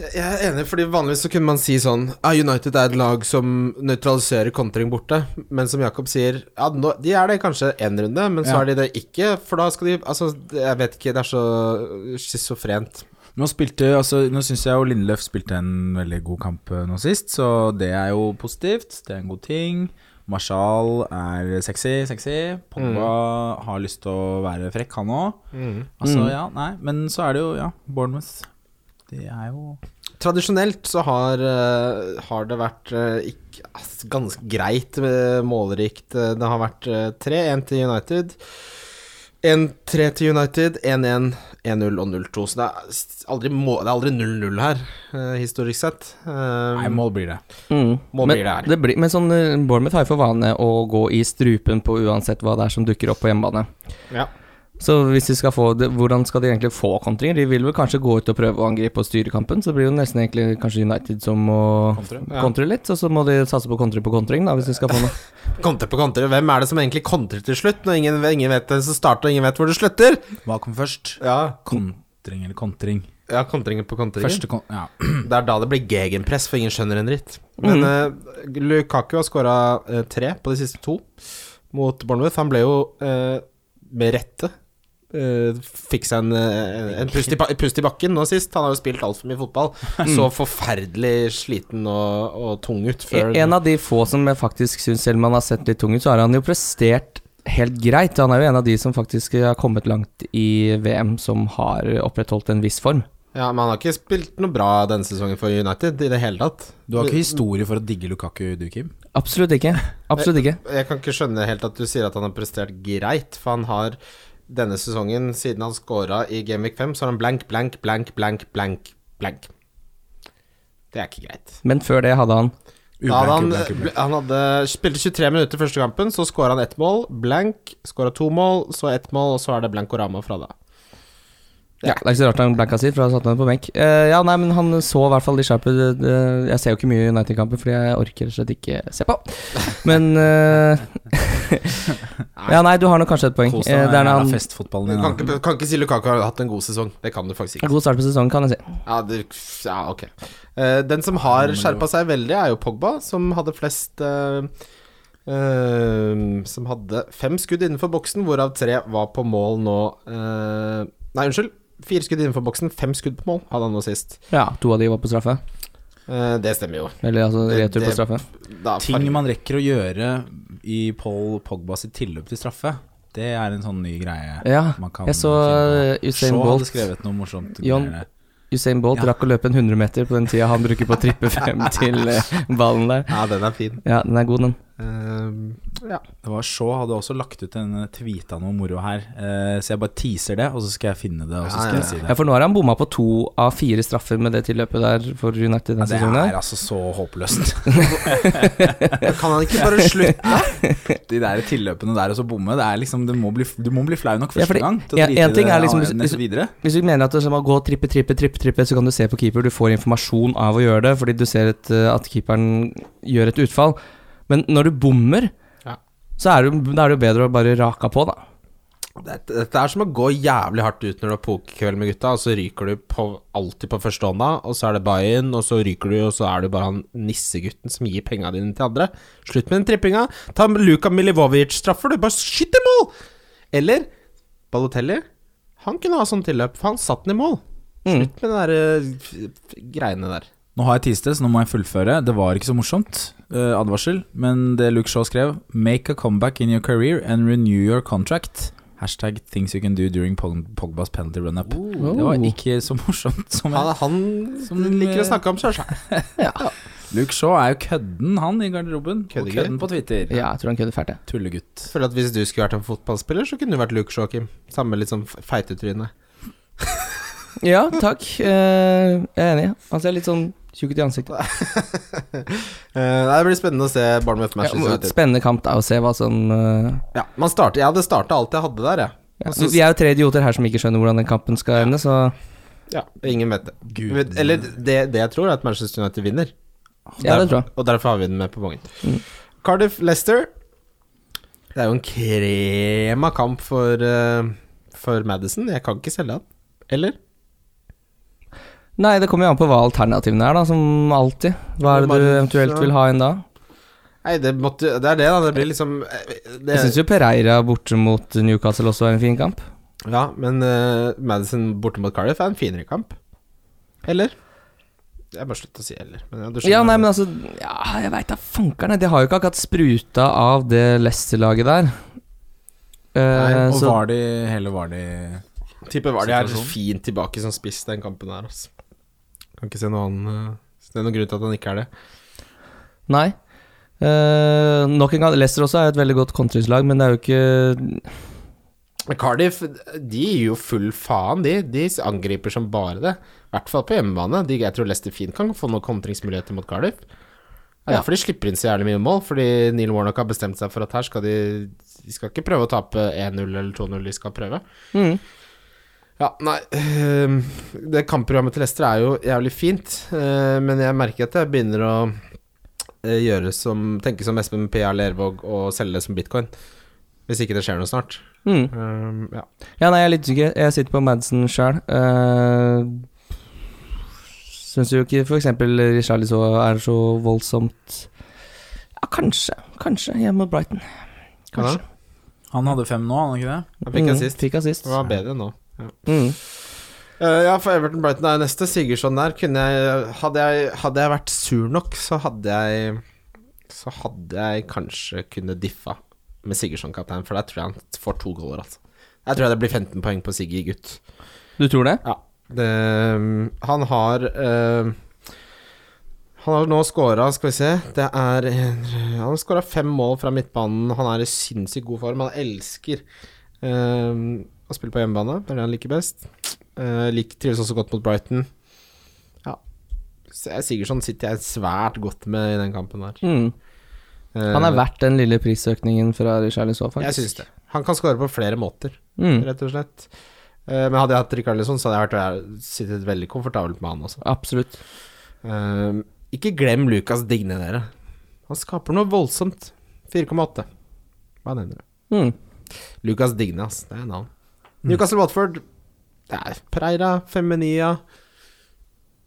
Jeg er enig, fordi vanligvis så kunne man si sånn Ja, United er et lag som nøytraliserer kontring borte. Men som Jakob sier, ja, nå, de er det kanskje én runde, men så Ja. er de det ikke. For da skal de Altså, det- jeg vet ikke, det er så schizofrent. Nå spilte, altså, nå syns jeg jo Lindløf spilte en veldig god kamp eh, nå sist, så det er jo positivt. Det er en god ting. Marshall er sexy, sexy. Pogba har lyst til å være frekk, han òg. Altså, Mm. ja, nei, men så er det jo, ja, Bournemouth. Det er jo Tradisjonelt så har, eh, har det vært eh, ikke, ass, ganske greit eh, målrikt. Eh, Det har vært eh, 3-1 til United. 1-3 til United, 1-1, 1-0 og 0-2. Så det er s- aldri må- det er aldri 0-0 her, eh, historisk sett. Eh, Nei, mål blir det. Mm. Må men, bli det her. blir, men sånn, eh, Bournemouth har jo for vane å gå i strupen på uansett hva det er som dukker opp på hjemmebane. Ja. Så hvis de skal få det, hvordan skal de egentlig få kontringer? De vil vel kanskje gå ut og prøve å angripe og styre kampen, så det blir jo nesten egentlig kanskje United som må ja. kontre, litt, og så må de satse på kontring på kontring, da, hvis de skal få noe. Kontre på kontre. Hvem er det som egentlig kontrer til slutt, når ingen, ingen vet hvem som starter, og ingen vet hvor det slutter? Hva kom først? Ja, Kontring eller kontring? ja kontringer på kontringer. Første kon... Ja. Det er da det blir gegenpress, for ingen skjønner en dritt. Mhm. Men eh, Lukaku har skåra tre på de siste to mot Bournemouth. Han ble jo eh, med rette eh, Fikk seg en, eh, en pust, i, ba- pust i bakken nå sist. Han har jo spilt altfor mye fotball. Mhm. Så forferdelig sliten og, og tung ut før E-, En av de få som jeg faktisk syns, selv om han har sett litt tung ut, så har han jo prestert helt greit. Han er jo en av de som faktisk har kommet langt i VM, som har opprettholdt en viss form. Ja, Men han har ikke spilt noe bra denne sesongen for United i det hele tatt. Du har ikke historie for å digge Lukaku, du, Kim? Absolutt ikke. Absolutt ikke. Jeg kan ikke skjønne helt at du sier at han har prestert greit, for han har denne sesongen, siden han scora i Gameweek 5, så har han blank, blank, blank, blank, blank, blank. Det er ikke greit. Men før det hadde han Da hadde han, Ublank, ublank, ublank. han hadde spilte 23 minutter første kampen, så scora han ett mål, blank, scora to mål, så ett mål, og så er det blankorama fra da. Ja, Det er ikke så rart han blanka si, for han satte meg på benk. Eh, ja, nei, men han så i hvert fall de sharpe det- det- Jeg ser jo ikke mye United-kamper, fordi jeg orker rett og slett ikke se på. Men eh, Ja, nei, du har nok kanskje et poeng. Kos Eh, deg det er når med jævla han festfotballen Du din. kan da. ikke, kan ikke si Lukaku har hatt en god sesong. Det kan du faktisk ikke. God start på sesongen, kan jeg si. Ja, det, ja ok. Eh, den som har skjerpa seg veldig, er jo Pogba, som hadde flest eh, eh, Som hadde fem skudd innenfor boksen, hvorav tre var på mål nå eh, Nei, unnskyld. Fire skudd innenfor boksen, fem skudd på mål hadde han nå sist. Ja, to av de var på straffe. Eh, det stemmer jo. Eller altså Det- retur på det- straffe. Da, Ting man rekker å gjøre i Paul Pogba sitt tilløp til straffe, det er en sånn ny greie. Ja, man kan jeg finne så eh, på. Usain Shaw hadde Bolt skrevet noe morsomt. John- greier. Usain Bolt Ja. rakk å løpe en 100 meter på den tida han bruker på å trippe frem til eh, ballen der. ja, den er fin. Ja, den er god, den. Eh, ja. Det var Shaw hadde også lagt ut en eh, tweet av noe moro her, eh, så jeg bare teaser det, og så skal jeg finne det, og Ja, så skal ja, jeg si Ja, det. for nå har han bomma på to av fire straffer med det tilløpet der for United denne Ja, sesongen. det her. er altså så håpløst. Men Kan han ikke bare slutte? De der tilløpene der og så bomme, det er liksom, det må bli, du må bli flau nok Ja, første fordi- gang til å ja, drite en i ting det er liksom- annet enn hvis- videre. Hvis du mener at det skal gå trippe, trippe, trippe, trippe, så kan du se på keeper. Du får informasjon av å gjøre det, fordi du ser et, eh, at keeperen gjør et utfall. Men når du bommer, Ja. så er det, da er det jo bedre å bare rake på, da. Dette, dette er som å gå jævlig hardt ut når du har pokerkveld med gutta, og så ryker du på, alltid på første hånda, og så er det buy-in, og så ryker du, og så er du bare han nissegutten som gir penga dine til andre. Slutt med den trippinga. Ta Luka Milivojevic-straffer, du. Bare skyt i mål! Eller Balotelli. Han kunne ha sånn tilløp, for han satt den i mål. Mm. Slutt med de der eh, f- f- greiene der. Nå har jeg teaset det, så nå må jeg fullføre. Det var ikke så morsomt, eh, advarsel, men det Luke Shaw skrev Make a comeback in your career and renew your contract. Hashtag things you can do during Pog- Pogbas penalty run-up. Oh. Det var ikke så morsomt som Han, jeg han Som, liker eh, å snakke om seg sjæl. Luke Shaw er jo kødden, han, i garderoben. Og Køddegutt. kødden på Twitter. Ja, jeg tror han kødder fælt, jeg. Tullegutt. Føler at hvis du skulle vært en fotballspiller, så kunne du vært Luke Shaw, Kim. Samme litt sånn feitetryne. Ja, takk. Eh, jeg er enig. Han ser litt sånn tjukk ut i ansiktet. Eh, nei, det blir spennende å se Bournemouth Ja, Manchester United. spennende kamp, da, å se hva som eh, Ja, man starter, jeg hadde starta alt jeg hadde der, jeg. ja. Og så- Vi er jo tre idioter her som ikke skjønner hvordan den kampen skal ende, så Ja. Ingen vet det. Gud. Vet- Eller det, det jeg tror, er at Manchester United vinner. Ja, det tror jeg. Mm. Og derfor har vi den med på vognen. Cardiff Leicester. Det er jo en krema kamp for, eh, for Madison. Jeg kan ikke selge han. Eller? Nei, det kommer jo an på hva alternativene er, da, som alltid. Hva er det du eventuelt vil ha inn da? Nei, det, måtte, det er det, da. Det blir liksom eh, det, Jeg syns jo Pereira borte mot Newcastle også er en fin kamp. Ja, men eh, Madison borte mot Cardiff er en finere kamp. Eller? Jeg bare slutter å si 'eller'. Men ja, du skjønner Ja, nei, hva men jeg- altså Ja, jeg veit da fankerne. De har jo ikke akkurat spruta av det Leicester-laget der. Eh, Nei, og så var de Hele var de Tipper var de er Situasjonen. fint tilbake som spiss den kampen her, altså. Kan ikke se noe annen eh, Det er noen grunn til at han ikke er det. Nei. Eh, nok en gang, Leicester også er jo et veldig godt kontringslag, men det er jo ikke Men Cardiff de gir jo full faen, de. De angriper som bare det. I hvert fall på hjemmebane. De, jeg tror Leicester fint kan få noen kontringsmuligheter mot Cardiff. Det er derfor de slipper inn så jævlig mye mål, fordi Neil Warnock har bestemt seg for at her skal de De skal ikke prøve å tape 1-0 eller 2-0, de skal prøve. Mm, Ja, nei øhm, Det kampprogrammet til Leicester er jo jævlig fint, øh, men jeg merker at jeg begynner å øh, gjøre som tenke som Espen P.A. Lervåg og selge det som bitcoin. Hvis ikke det skjer noe snart. Mm. Øhm, ja. Ja, nei, jeg er litt usikker. Jeg sitter på Madsen sjøl. Uh, Syns jo ikke f.eks. Richarlie så er så voldsomt Ja, kanskje. Kanskje hjemme mot Brighton. Kanskje. Han hadde fem nå, han ikke det? Han fikk Mm, assist. Fikk assist. Det var bedre nå. Mm. Eh, ja, for Everton Brighton er neste. Sigurdsson der kunne jeg hadde, jeg hadde jeg vært sur nok, så hadde jeg Så hadde jeg kanskje kunne diffa med Sigurdsson kaptein, for der tror jeg han får to goller, altså. Jeg tror jeg det blir 15 poeng på Siggy gutt. Du tror det? Ja. Det, mm, han har eh, Han har nå scora, skal vi se Det er Han har scora fem mål fra midtbanen. Han er i sinnssykt god form. Han elsker eh, å spille på hjemmebane. Det er det han liker best. Uh, Lik trives også godt mot Brighton. Ja. Så jeg- Sigurdsson sitter jeg svært godt med i den kampen der. Mm. Eh, Han er verdt den lille prisøkningen fra Richarlie så, faktisk. Jeg syns det. Han kan skåre på flere måter, Mm. rett og slett. Eh, men hadde jeg hatt Rikarlisson, så hadde jeg vært, sittet veldig komfortabelt med han også. Absolutt. Ehm, ikke glem Lucas Digne, dere. Han skaper noe voldsomt. 4,8. Hva nevner du? Mm. Lucas Digne, ass. Det er navn. Newcastle Watford. Det er Pereira, Feminia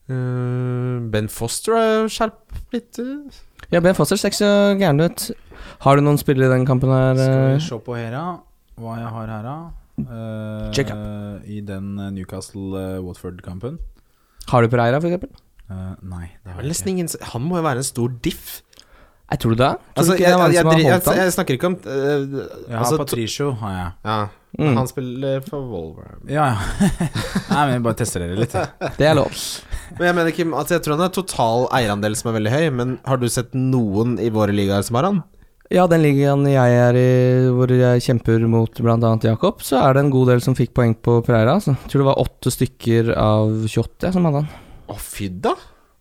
Ehm, Ben Foster er skjerp litt. eh. Ja, Ben Foster ser ikke så gæren ut. Har du noen spillere i den kampen her? Skal vi eh? se på her, ja. Hva jeg har her, da. Eh, Check I den Newcastle-Watford-kampen. Har du Pereira, for eksempel? Eh, nei, det Det har er jeg nesten ikke. ingen s- Han må jo være en stor diff. Jeg tror du det? Tror du Altså, ikke jeg, det er mange jeg, jeg, som har dri- jeg, holdt han? jeg snakker ikke om eh, Jeg har altså, to- Patricio, har jeg. Ja, Mm. Han spiller for Wolverham. Ja, ja. nei, men jeg bare tester dere litt. jeg. Det er lov. Men jeg mener Kim, at jeg tror han har total eierandel som er veldig høy, men har du sett noen i våre ligaer som har han? Ja, den ligaen jeg er i, hvor jeg kjemper mot bl.a. Jakob, så er det en god del som fikk poeng på Pereira. Altså. Jeg tror det var åtte stykker av 28 som hadde han. Å, fy da!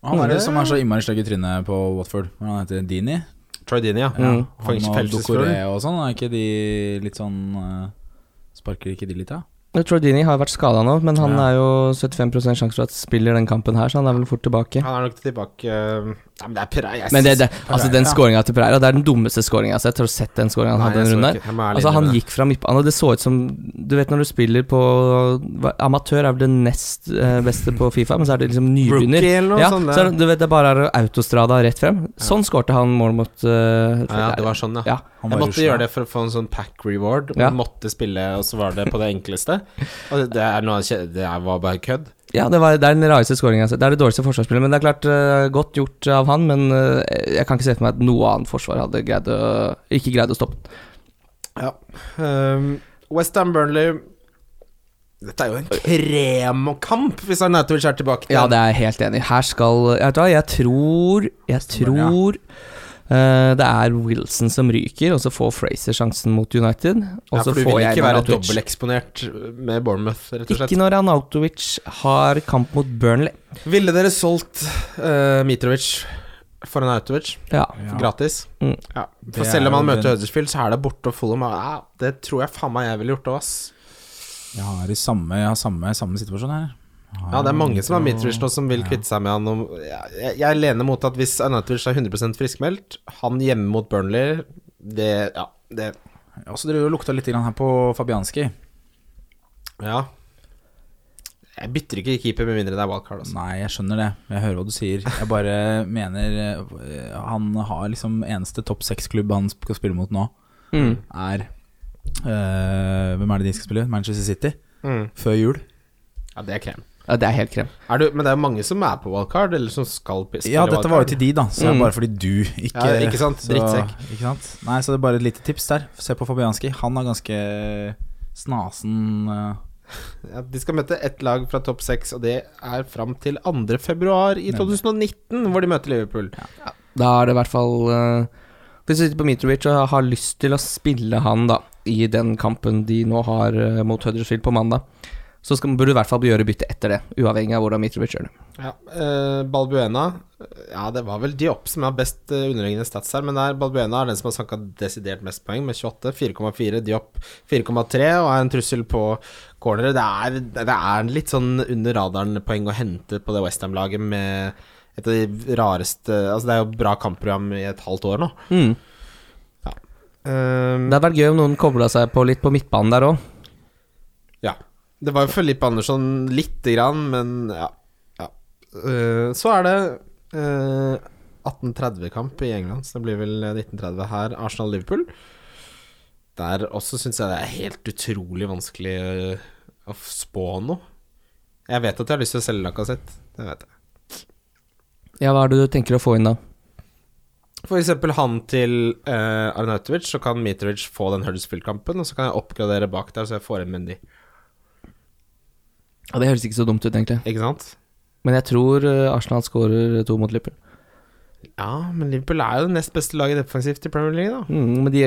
Han er Ja. det som er så innmari stygg i trynet på Watford. Hva er han heter Dini? Troy Dini, ja. Mm. Får Han ikke og pelsesfugl. Dokoré og sånn, er ikke de litt sånn eh, Sparker ikke de litt, da? Troy Dini har vært skada nå, men han Ja. er jo 75 sjanse for at spiller den kampen her, så han er vel fort tilbake. Han er nok tilbake eh, Nei, men det er Pereira. jeg Men det, synes- det, altså den Pereira. skåringa til Pereira, det er den dummeste skåringa. Altså, jeg tror jeg har sett den skåringa han Nei, hadde jeg den så runden ikke. her. Jeg må ærlig Altså, han innrømme det. gikk fra midtbanen, og det så ut som Du vet når du spiller på hva- Amatør er vel det nest eh, beste på Fifa, men så er det liksom nybegynner. Rookie eller noe ja, sånt, så er det. det, du vet, det bare er autostrada rett frem. Sånn skårte han mål mot eh, Ja, ja, det var sånn, ja. Ja. Jeg Han var i måtte Russland. gjøre det for å få en sånn pack reward. Ja. Måtte spille, og så var det på det enkleste. Og det, er noe, av kje- det er- var bare kødd. ja, det, var, det er den rareste skåringa jeg har sett. Det er det dårligste forsvarsspillet, men det er klart eh, godt gjort av han. Men eh, jeg kan ikke se for meg at noe annet forsvar hadde greid å, ikke greid å stoppe den. Um, Westham Burnley Dette er jo en kremkamp, hvis han Nautovic er tilbake. Ja, det er jeg helt enig i. Her skal jeg Vet du hva, jeg tror Jeg ja. tror eh, det er Wilson som ryker, og så får Fraser sjansen mot United. Og Ja, så for du får vil jeg ikke være Arnautovic. dobbelteksponert med Bournemouth, rett og slett. Ikke når Arnautovic har kamp mot Burnley. Ville dere solgt eh, Mitrovic for en Autovic? Ja. Ja. Gratis? Mm. Ja. For Det selv er om han jo møter den- Huddersfield, så er det borte og Fulham. Ja, det tror jeg faen meg jeg ville gjort òg, ass. Jeg har, i samme, jeg har samme, samme situasjon her. Jeg har Ja, det er mange som har Mitro- Mitrovic nå, som vil kvitte seg med han. om- Jeg, jeg, jeg lener mot at hvis Arnautovic er 100 friskmeldt, han hjemme mot Burnley Det Ja. Det, Jeg har også drevet og lukta litt grann her på Fabianski. ja. Jeg bytter ikke keeper med mindre det er wildcard, altså. Nei, jeg skjønner det. Jeg hører hva du sier. Jeg bare mener eh, Han har liksom eneste topp seks-klubb han skal spille mot nå, Mm. er eh, Hvem er det de skal spille? Manchester City. Mm. Før jul. Ja, det er krem. ja, det er helt krem. Er du, men det er jo mange som er på wildcard, eller som skal sp- spille Ja, dette var jo til de, da. Så det Mm. er bare fordi du ikke Ja, ikke sant? så- Drittsekk. Ikke sant? Nei, så det er bare et lite tips der. Se på Fabianski. Han er ganske snasen eh, Ja, de skal møte ett lag fra topp seks, og det er fram til 2. februar i 2019, hvor de møter Liverpool. Da er det i hvert fall eh, Hvis du sitter på Mitrovic og har lyst til å spille han, da, i den kampen de nå har eh, mot Huddersfield på mandag, så skal, burde du i hvert fall gjøre bytte etter det, uavhengig av hvordan Mitrovic gjør det. Ja, eh, Balbuena Ja, det var vel Diop som har best eh, underliggende stats her, men der Balbuena er den som har sanka desidert mest poeng, med 28. 4,4. Diop 4,3 og er en trussel på cornere. Det er, det er litt sånn under radaren-poeng å hente på det Westham-laget med et av de rareste Altså, det er jo bra kampprogram i et halvt år nå. Mm. Det Um, hadde vært gøy om noen kobla seg på litt på midtbanen der òg. Ja. Det var jo Felipe Andersson lite grann, men ja. ja. Eh, så er det eh, 1830-kamp i England, så det blir vel 1930 her. Arsenal-Liverpool. Der også syns jeg det er helt utrolig vanskelig eh, å spå noe. Jeg vet at jeg har lyst til å selge Lacassette, det vet jeg. Ja, hva er det du tenker å få inn da? For eksempel han til eh, Arnautovic, så kan Mitrovic få den Huddersfield-kampen, og så kan jeg oppgradere bak der, så jeg får en Mendy. Ja, det høres ikke så dumt ut, egentlig. Ikke sant? Men jeg tror eh, Arsenal skårer to mot Liverpool. Ja, men Liverpool er jo det nest beste laget defensivt i Premier League, da. Mm, men de,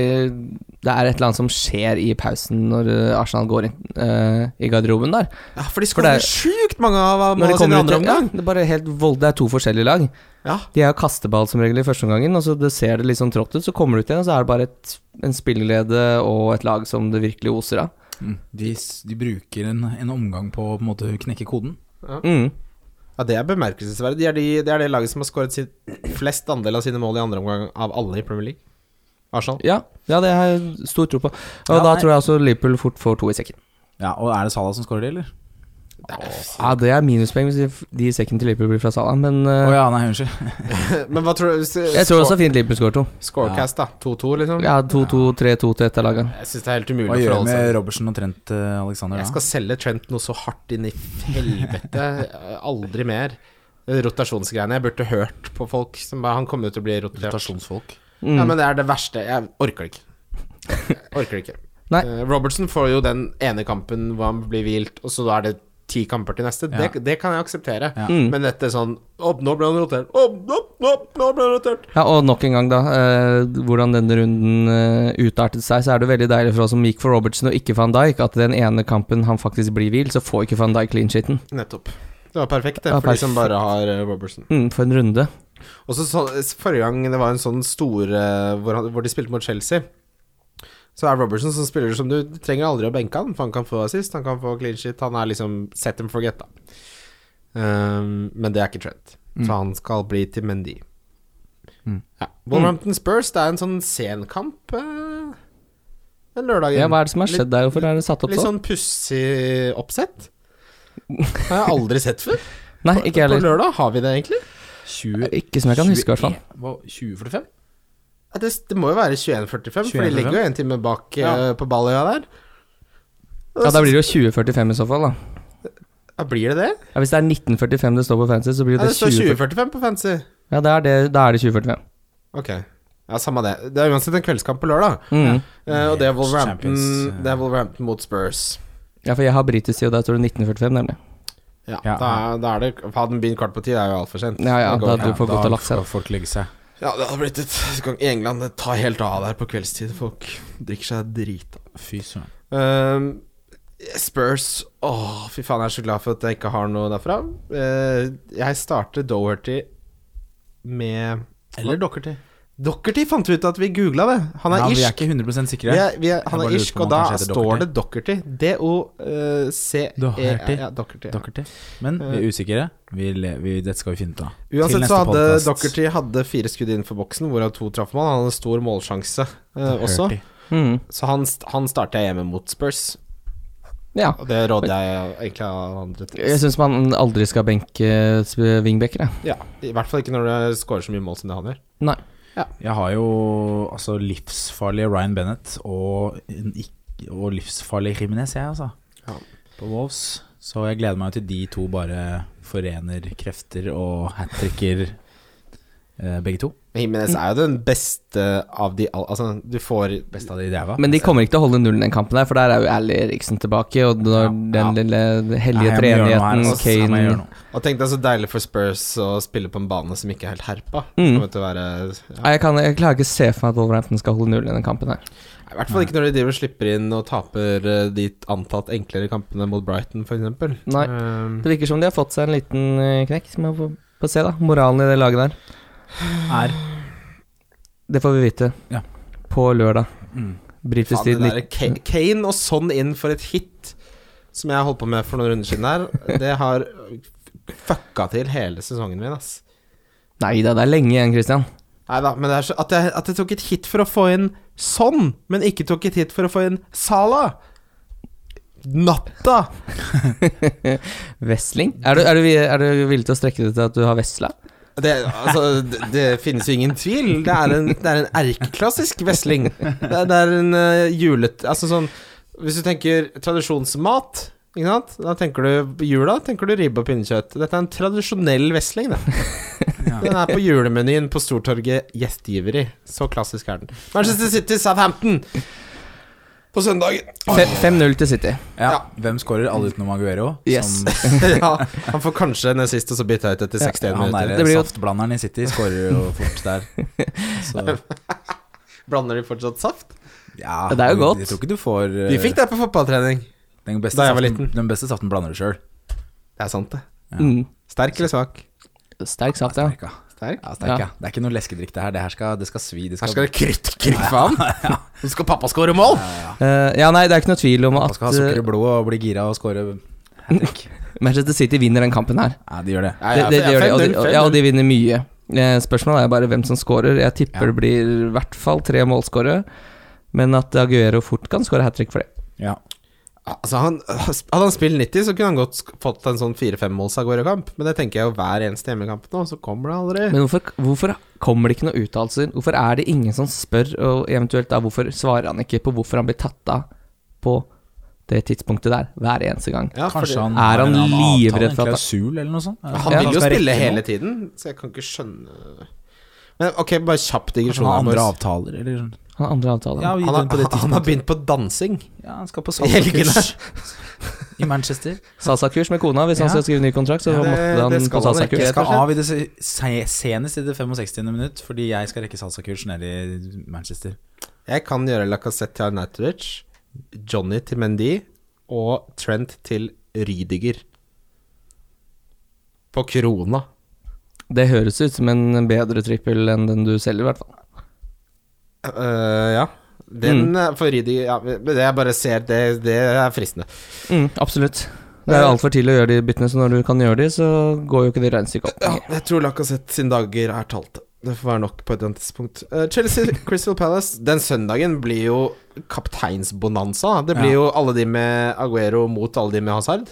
det er et eller annet som skjer i pausen når eh, Arsenal går inn eh, i garderoben der. Ja, for de For det skårer er- sjukt mange av Når de målene sine i kommer ut, andre ja, omgang. det er bare helt vold, det er to forskjellige lag. Ja. De har kasteball som regel i første omgangen, og så det ser det litt sånn trått ut. Så kommer du ut igjen, og så er det bare et, en spillerglede og et lag som det virkelig oser av. Mm. De, s- de bruker en, en omgang på å på en måte knekke koden. Mm. ja, det er bemerkelsesverdig. Det er, de, det er det laget som har skåret sitt- flest andel av sine mål i andre omgang av alle i Premier League. Arsenal. Ja, ja, det har jeg stor tro på. Og Ja, da nei. tror jeg også Liverpool fort får to i sekken. Ja, og er det Salah som scorer det, eller? Ja, det er minuspoeng hvis de- de i sekken til Liverpool blir fra Salah, men Å eh, ja, nei, unnskyld. Men hva tror du jeg tror også fint Liverpool skårer to. Scorecast, da. 2-2, liksom. Ja, 2-2, 3-2 til ett av lagene. Jeg syns det er helt umulig å Hva gjør vi forholde med seg til. Robertsen og Trent eh, Alexander da? Jeg skal selge Trent noe så hardt inn i helvete. Aldri mer. Rotasjonsgreiene. Jeg burde hørt på folk som bare Han kommer jo til å bli rotert. Rotasjonsfolk. Ja, men det er det verste. Jeg orker det ikke. Jeg orker det ikke. Nei. Eh, Robertson får jo den ene kampen hvor han blir hvilt, og så da er det ti kamper til neste. Ja. Det, det kan jeg akseptere. Ja. Men dette sånn Opp, nå ble han rotert. Opp, opp, opp, nå ble han rotert. Ja, og nok en gang, da. Eh, hvordan denne runden eh, utartet seg, så er det veldig deilig for oss som gikk for Robertsen og ikke van Dijk, at den ene kampen han faktisk blir hvil, så får ikke van Dijk clean sheeten. Nettopp. Det var perfekt, det, Ja, for de som bare har eh, Robertson. Mm, for en runde. Og så, så Forrige gang det var en sånn stor eh, hvor, han- hvor de spilte mot Chelsea, så er Robertson som spiller som du, du trenger aldri å benke han, for han kan få assist, han kan få clean shit, han er liksom set and forget, da. Ehm, men det er ikke Trent, Mm. så han skal bli til Mendy. Ja. Mm. Wolverhampton Spurs, det er en sånn senkamp uh, den lørdagen. Ja, hva er det som har skjedd der? Hvorfor er det satt opp Litt sånn? sånn pussig oppsett. Det har jeg aldri sett før. Nei, ikke På heller. Eh, lørdag har vi det, egentlig. 20, Ikke som jeg kan huske, i hvert fall. 2045? Ja, det, det må jo være 21.45, for de 21.45. ligger jo en time bak eh, på Balløya der. Ja, da blir det jo 2045 i så fall, da. Ja, blir det det? Ja, hvis det er 1945 det står på fancy, så blir Ja, det det står 2045. 20.45 på Fancy. Ja, da er det, da er det 2045. Ok. Ja, samme det. Det er uansett en kveldskamp på lørdag. Mm. Eh, og det er, Wolverhampton, Champions, eh. det er Wolverhampton mot Spurs. Ja, for jeg har britisk tid, og der står det 1945, nemlig. Ja, Ja. Da, er- da er det Hadde den begynt kvart på ti, det er jo altfor sent. Ja, ja, Det går da ikke. du får godt å lagt seg. Da får folk legge seg. ja, det hadde blitt et så kan- I England det tar helt av der på kveldstid. Folk drikker seg drita. Fy søren. Ehm, Spurs Åh, fy faen, jeg er så glad for at jeg ikke har noe derfra. Eh, jeg starter Doherty med Eller Dockerty. Doherty fant vi ut at vi googla det. Han er Ja, vi er irsk. ikke 100 sikre. Vi er, vi er, han bare er lurer irsk, på om og da han kanskje heter står det Doherty. D-O-C-E Doherty. E Ja, Doherty. ja. Dockerty. Men vi er usikre. Vi, le- vi, dette skal vi finne ut av. Til Eh. Uansett neste så hadde podcast. Doherty hadde fire skudd innenfor boksen, hvorav to traff mål. Han hadde en stor målsjanse eh, også. Doherty. Mm. Så han, st- han starter jeg hjemme mot Spurs, Ja. og det råder jeg egentlig av andre til. Jeg syns man aldri skal benke eh, wingbacker, jeg. Ja, I hvert fall ikke når du scorer så mye mål som det han gjør. Nei. Jeg har jo altså livsfarlige Ryan Bennett og, en ikk- og livsfarlig Jimenez, jeg, altså. Ja. På Wolves. Så jeg gleder meg til de to bare forener krefter og hat tricker eh, begge to. Jimenez er jo den beste av de all- Altså, du får Best av de i ræva. Men de kommer ikke til å holde nullen den kampen der, for der er jo Ally Eriksen tilbake, og når Ja. den lille eh, Nei, hellige jeg må gjøre noe her, treenigheten, altså. Jeg må gjøre Kane noe. Og tenk deg så deilig for Spurs å spille på en bane som ikke er helt herpa. Mm. Kommer til å være ja. Nei, jeg, kan, jeg klarer ikke å se for meg at Wolverhampton skal holde nullen i den kampen her. I hvert fall ikke når de driver og slipper inn og taper eh, de antatt enklere kampene mot Brighton, Eh, f.eks. Nei. Det virker som de har fått seg en liten eh, knekk. Så må vi få- få se, da. Moralen i det laget der. Er Det får vi vite Ja. på lørdag. mm. Britisk Faen, tid. det der, nitt- Ka- Kane og sånn inn for et hit som jeg holdt på med for noen runder siden her, det har fucka til hele sesongen min, ass. Nei da, det er lenge igjen, Christian. Nei da, men det er så at jeg, at jeg tok et hit for å få inn sånn, men ikke tok et hit for å få inn Sala. Natta! Vesling? Er du, er, du, vi- er du villig til å strekke det til at du har vesla? Det, altså, det, det finnes jo ingen tvil. Det er en, det er en erkeklassisk vesling. Det, er- det er en uh, julet... Altså sånn Hvis du tenker tradisjonsmat, ikke sant? da tenker du jula, tenker du ribbe og pinnekjøtt. Dette er en tradisjonell vesling, det. Ja. Den er på julemenyen på Stortorget gjestgiveri. Så klassisk er den. Manchester City, Southampton! På søndagen. Fe- 5-0 til City. ja. Hvem skårer alle utenom Aguero? Yes. Som, ja, han får kanskje en sist, og så bytter jeg ut etter 61 han minutter. derre Det blir jo- saftblanderen i City skårer jo fort der. Så, Blander de fortsatt saft? ja, Det er jo godt. Jeg tror ikke du får eh, De fikk det på fotballtrening. den beste, da jeg var saften, liten. den beste saften blander du sjøl. Det er sant, det. Ja. Mm. Sterk eller svak? Sterk saft, ja. Sterk, ja. Sterk. Ja, sterk, Ja. ja. Det er ikke noe leskedrikk, det her. Det her skal, det skal svi. Det Her skal, skal det krytt, krytt faen. Nå skal pappa skåre mål! Eh, ja, nei, det er ikke noe tvil om Man at skal ha sukker eh, i blodet og bli gira og score hat-trick. Manchester City vinner den kampen her. ja, de gjør det. Ja, Det, ja, altså, det, det gjør de, og de, 5-0, og- ja, og de vinner mye. Eh, Spørsmålet er bare hvem som scorer. Jeg tipper Ja. det blir i hvert fall tre målskårere, men at Aguero fort kan score hat trick for det. Ja. Altså, han, hadde han spilt 90, så kunne han godt sk- fått en sånn 4-5-måls Aguero-kamp. Men det tenker jeg jo hver eneste hjemmekamp nå, så kommer det aldri. Men hvorfor, hvorfor kommer det ikke noen uttalelser? Hvorfor er det ingen som spør, og eventuelt da hvorfor svarer han ikke på hvorfor han blir tatt av på det tidspunktet der, hver eneste gang? Ja, fordi- Kanskje han Er han en annen livredd avtale, en for at- klausul eller noe sånt? Han Ja. vil jo skal spille rekke hele noe. tiden, så jeg kan ikke skjønne Men ok, bare kjapp Kanskje digresjon. han har her, andre boys. avtaler, eller sånn. Han har andre avtaler. Ja, vi Han, den på det har- han har tidspunktet. begynt på dansing. Ja, han skal på I helgene. salgskurs i Manchester. Salsakurs med kona, hvis han Ja. skal skrive ny kontrakt, så Ja, det- måtte det han skal han på ikke. salsakurs. Jeg rett og skal slett. av i det se- se- senest i det 65. minutt, fordi jeg skal rekke salsakurs nede i Manchester. Jeg kan gjøre Lacassette til Arnautovic, Johnny til Mendy og Trent til Rydiger. På krona. Det høres ut som en bedre trippel enn den du selger, i hvert fall. Eh, ja. Den eh, for Rydiger ja, men Det jeg bare ser, det, det er fristende. Mm, absolutt. Det er jo altfor tidlig å gjøre de byttene, så når du kan gjøre de, så går jo ikke de regnestykket opp. Ja, lenger. jeg tror Lacassette sine dager er talte. Det får være nok på et eller annet tidspunkt. Eh, Chelsea Crystal Palace. Den søndagen blir jo kapteinsbonanza. Det blir Ja. jo alle de med Aguero mot alle de med Hazard,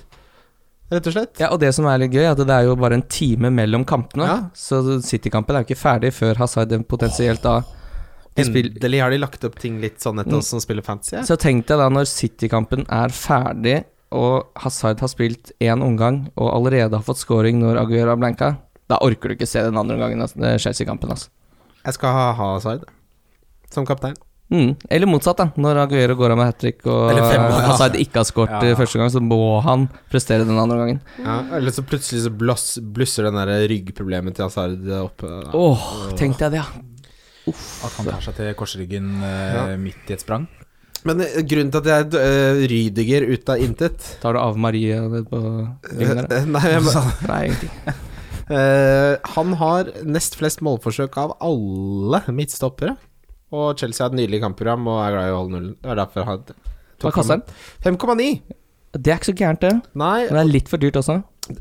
rett og slett. Ja, og det som er litt gøy, er at det er jo bare en time mellom kampene. Ja. Så City-kampen er jo ikke ferdig før Hazard potensielt da de spill- Endelig har de lagt opp ting litt sånn etter Mm. oss som spiller fancy. Så tenk deg da når City-kampen er ferdig, og Hazard har spilt én omgang og allerede har fått scoring når Aguero har blanka, da orker du ikke se den andre omgangen av eh, Chelsea-kampen, altså. Jeg skal ha Hazard som kaptein. Mm. Eller motsatt, da. Når Aguero går av med hat trick og Eller fem, ja. Hazard ikke har skåret Ja. eh, første gang, så må han prestere den andre gangen. Ja, eller så plutselig så bloss, blusser den der ryggproblemet til Hazard opp. eh, Åh, tenk deg det, ja. At han tar seg til korsryggen eh, midt i et sprang. Men eh, grunnen til at jeg uh, rydiger ut av intet Tar du av Marie det på ryggen der? da? Eh, Nei, jeg, bare- Nei, ingenting. eh, han har nest flest målforsøk av alle midtstoppere. Og Chelsea har et nydelig kampprogram og er glad i å holde nullen. Det er derfor han Hva koster den? 5,9. Det er ikke så gærent, det. Nei, Men det er litt for dyrt også.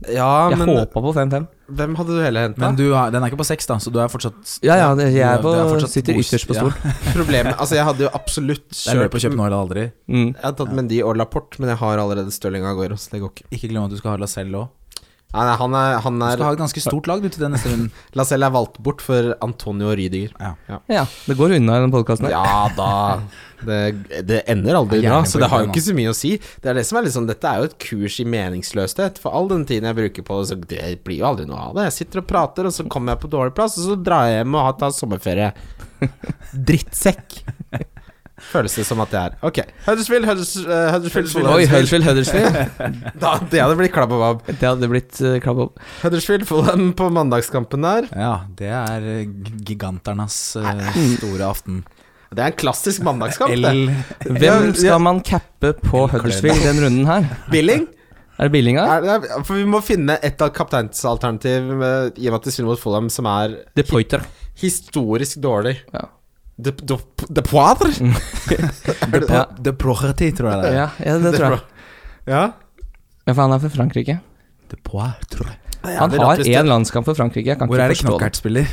ja, Jeg men håpa på 5-5. hvem hadde du heller henta? Men du har, den er ikke på seks, da, så du er fortsatt Ja, ja, det- jeg er du på- fortsatt sitter boost. ytterst på stol. Ja. Problemet Altså, jeg hadde jo absolutt Det er løp å kjørt kjøpe nå eller aldri. Mm. Jeg har tatt Mendy og Laporte, men jeg har allerede Stirling Aguero, så det går ikke. Ikke glem at du skal ha Lacelle òg. Nei, nei, han er, han Du er skal ha et ganske stort lag du, til den neste runden. Lacelle er valgt bort for Antonio Rydiger. Ja, det går unna i den podkasten her. Ja da. Det, det ender aldri bra, Hjernen så det har jo funker, ikke så mye å si. Det er det som er liksom, Dette er jo et kurs i meningsløshet, for all den tiden jeg bruker på det, så det blir jo aldri noe av det. Jeg sitter og prater, og så kommer jeg på dårlig plass, og så drar jeg hjem og har- tar sommerferie. Drittsekk. Føles det som at det er. Ok. Huddersfield, Hudders, eh, Huddersfield, Fulham. Oi, Huddersfield, Huddersfield. Da, det hadde blitt klabbebab. Det hadde blitt uh, klabb opp. Huddersfield Fulham på mandagskampen der. Ja, det er eh, giganternes eh, Mm. store aften. Det er en klassisk mandagskamp, det. L Hvem Ja, ja. skal man cappe på Huddersfield den runden her? Billing? Er det Billinga? Er det, er- for vi må finne et av kapteinsalternativ med- i og med at de spiller mot Fulham, som er De Poiter. historisk dårlig. Ja. Mm. De, de, de Poitre? de, pro- de Poirety, tror jeg det er. Ja, ja, det tror jeg. Ja. Ja, for han er fra Frankrike. De Poirety. Han det er har rart hvis det- én landskamp for Frankrike. Jeg kan Hvor ikke er det forstå det. Knockert-spiller?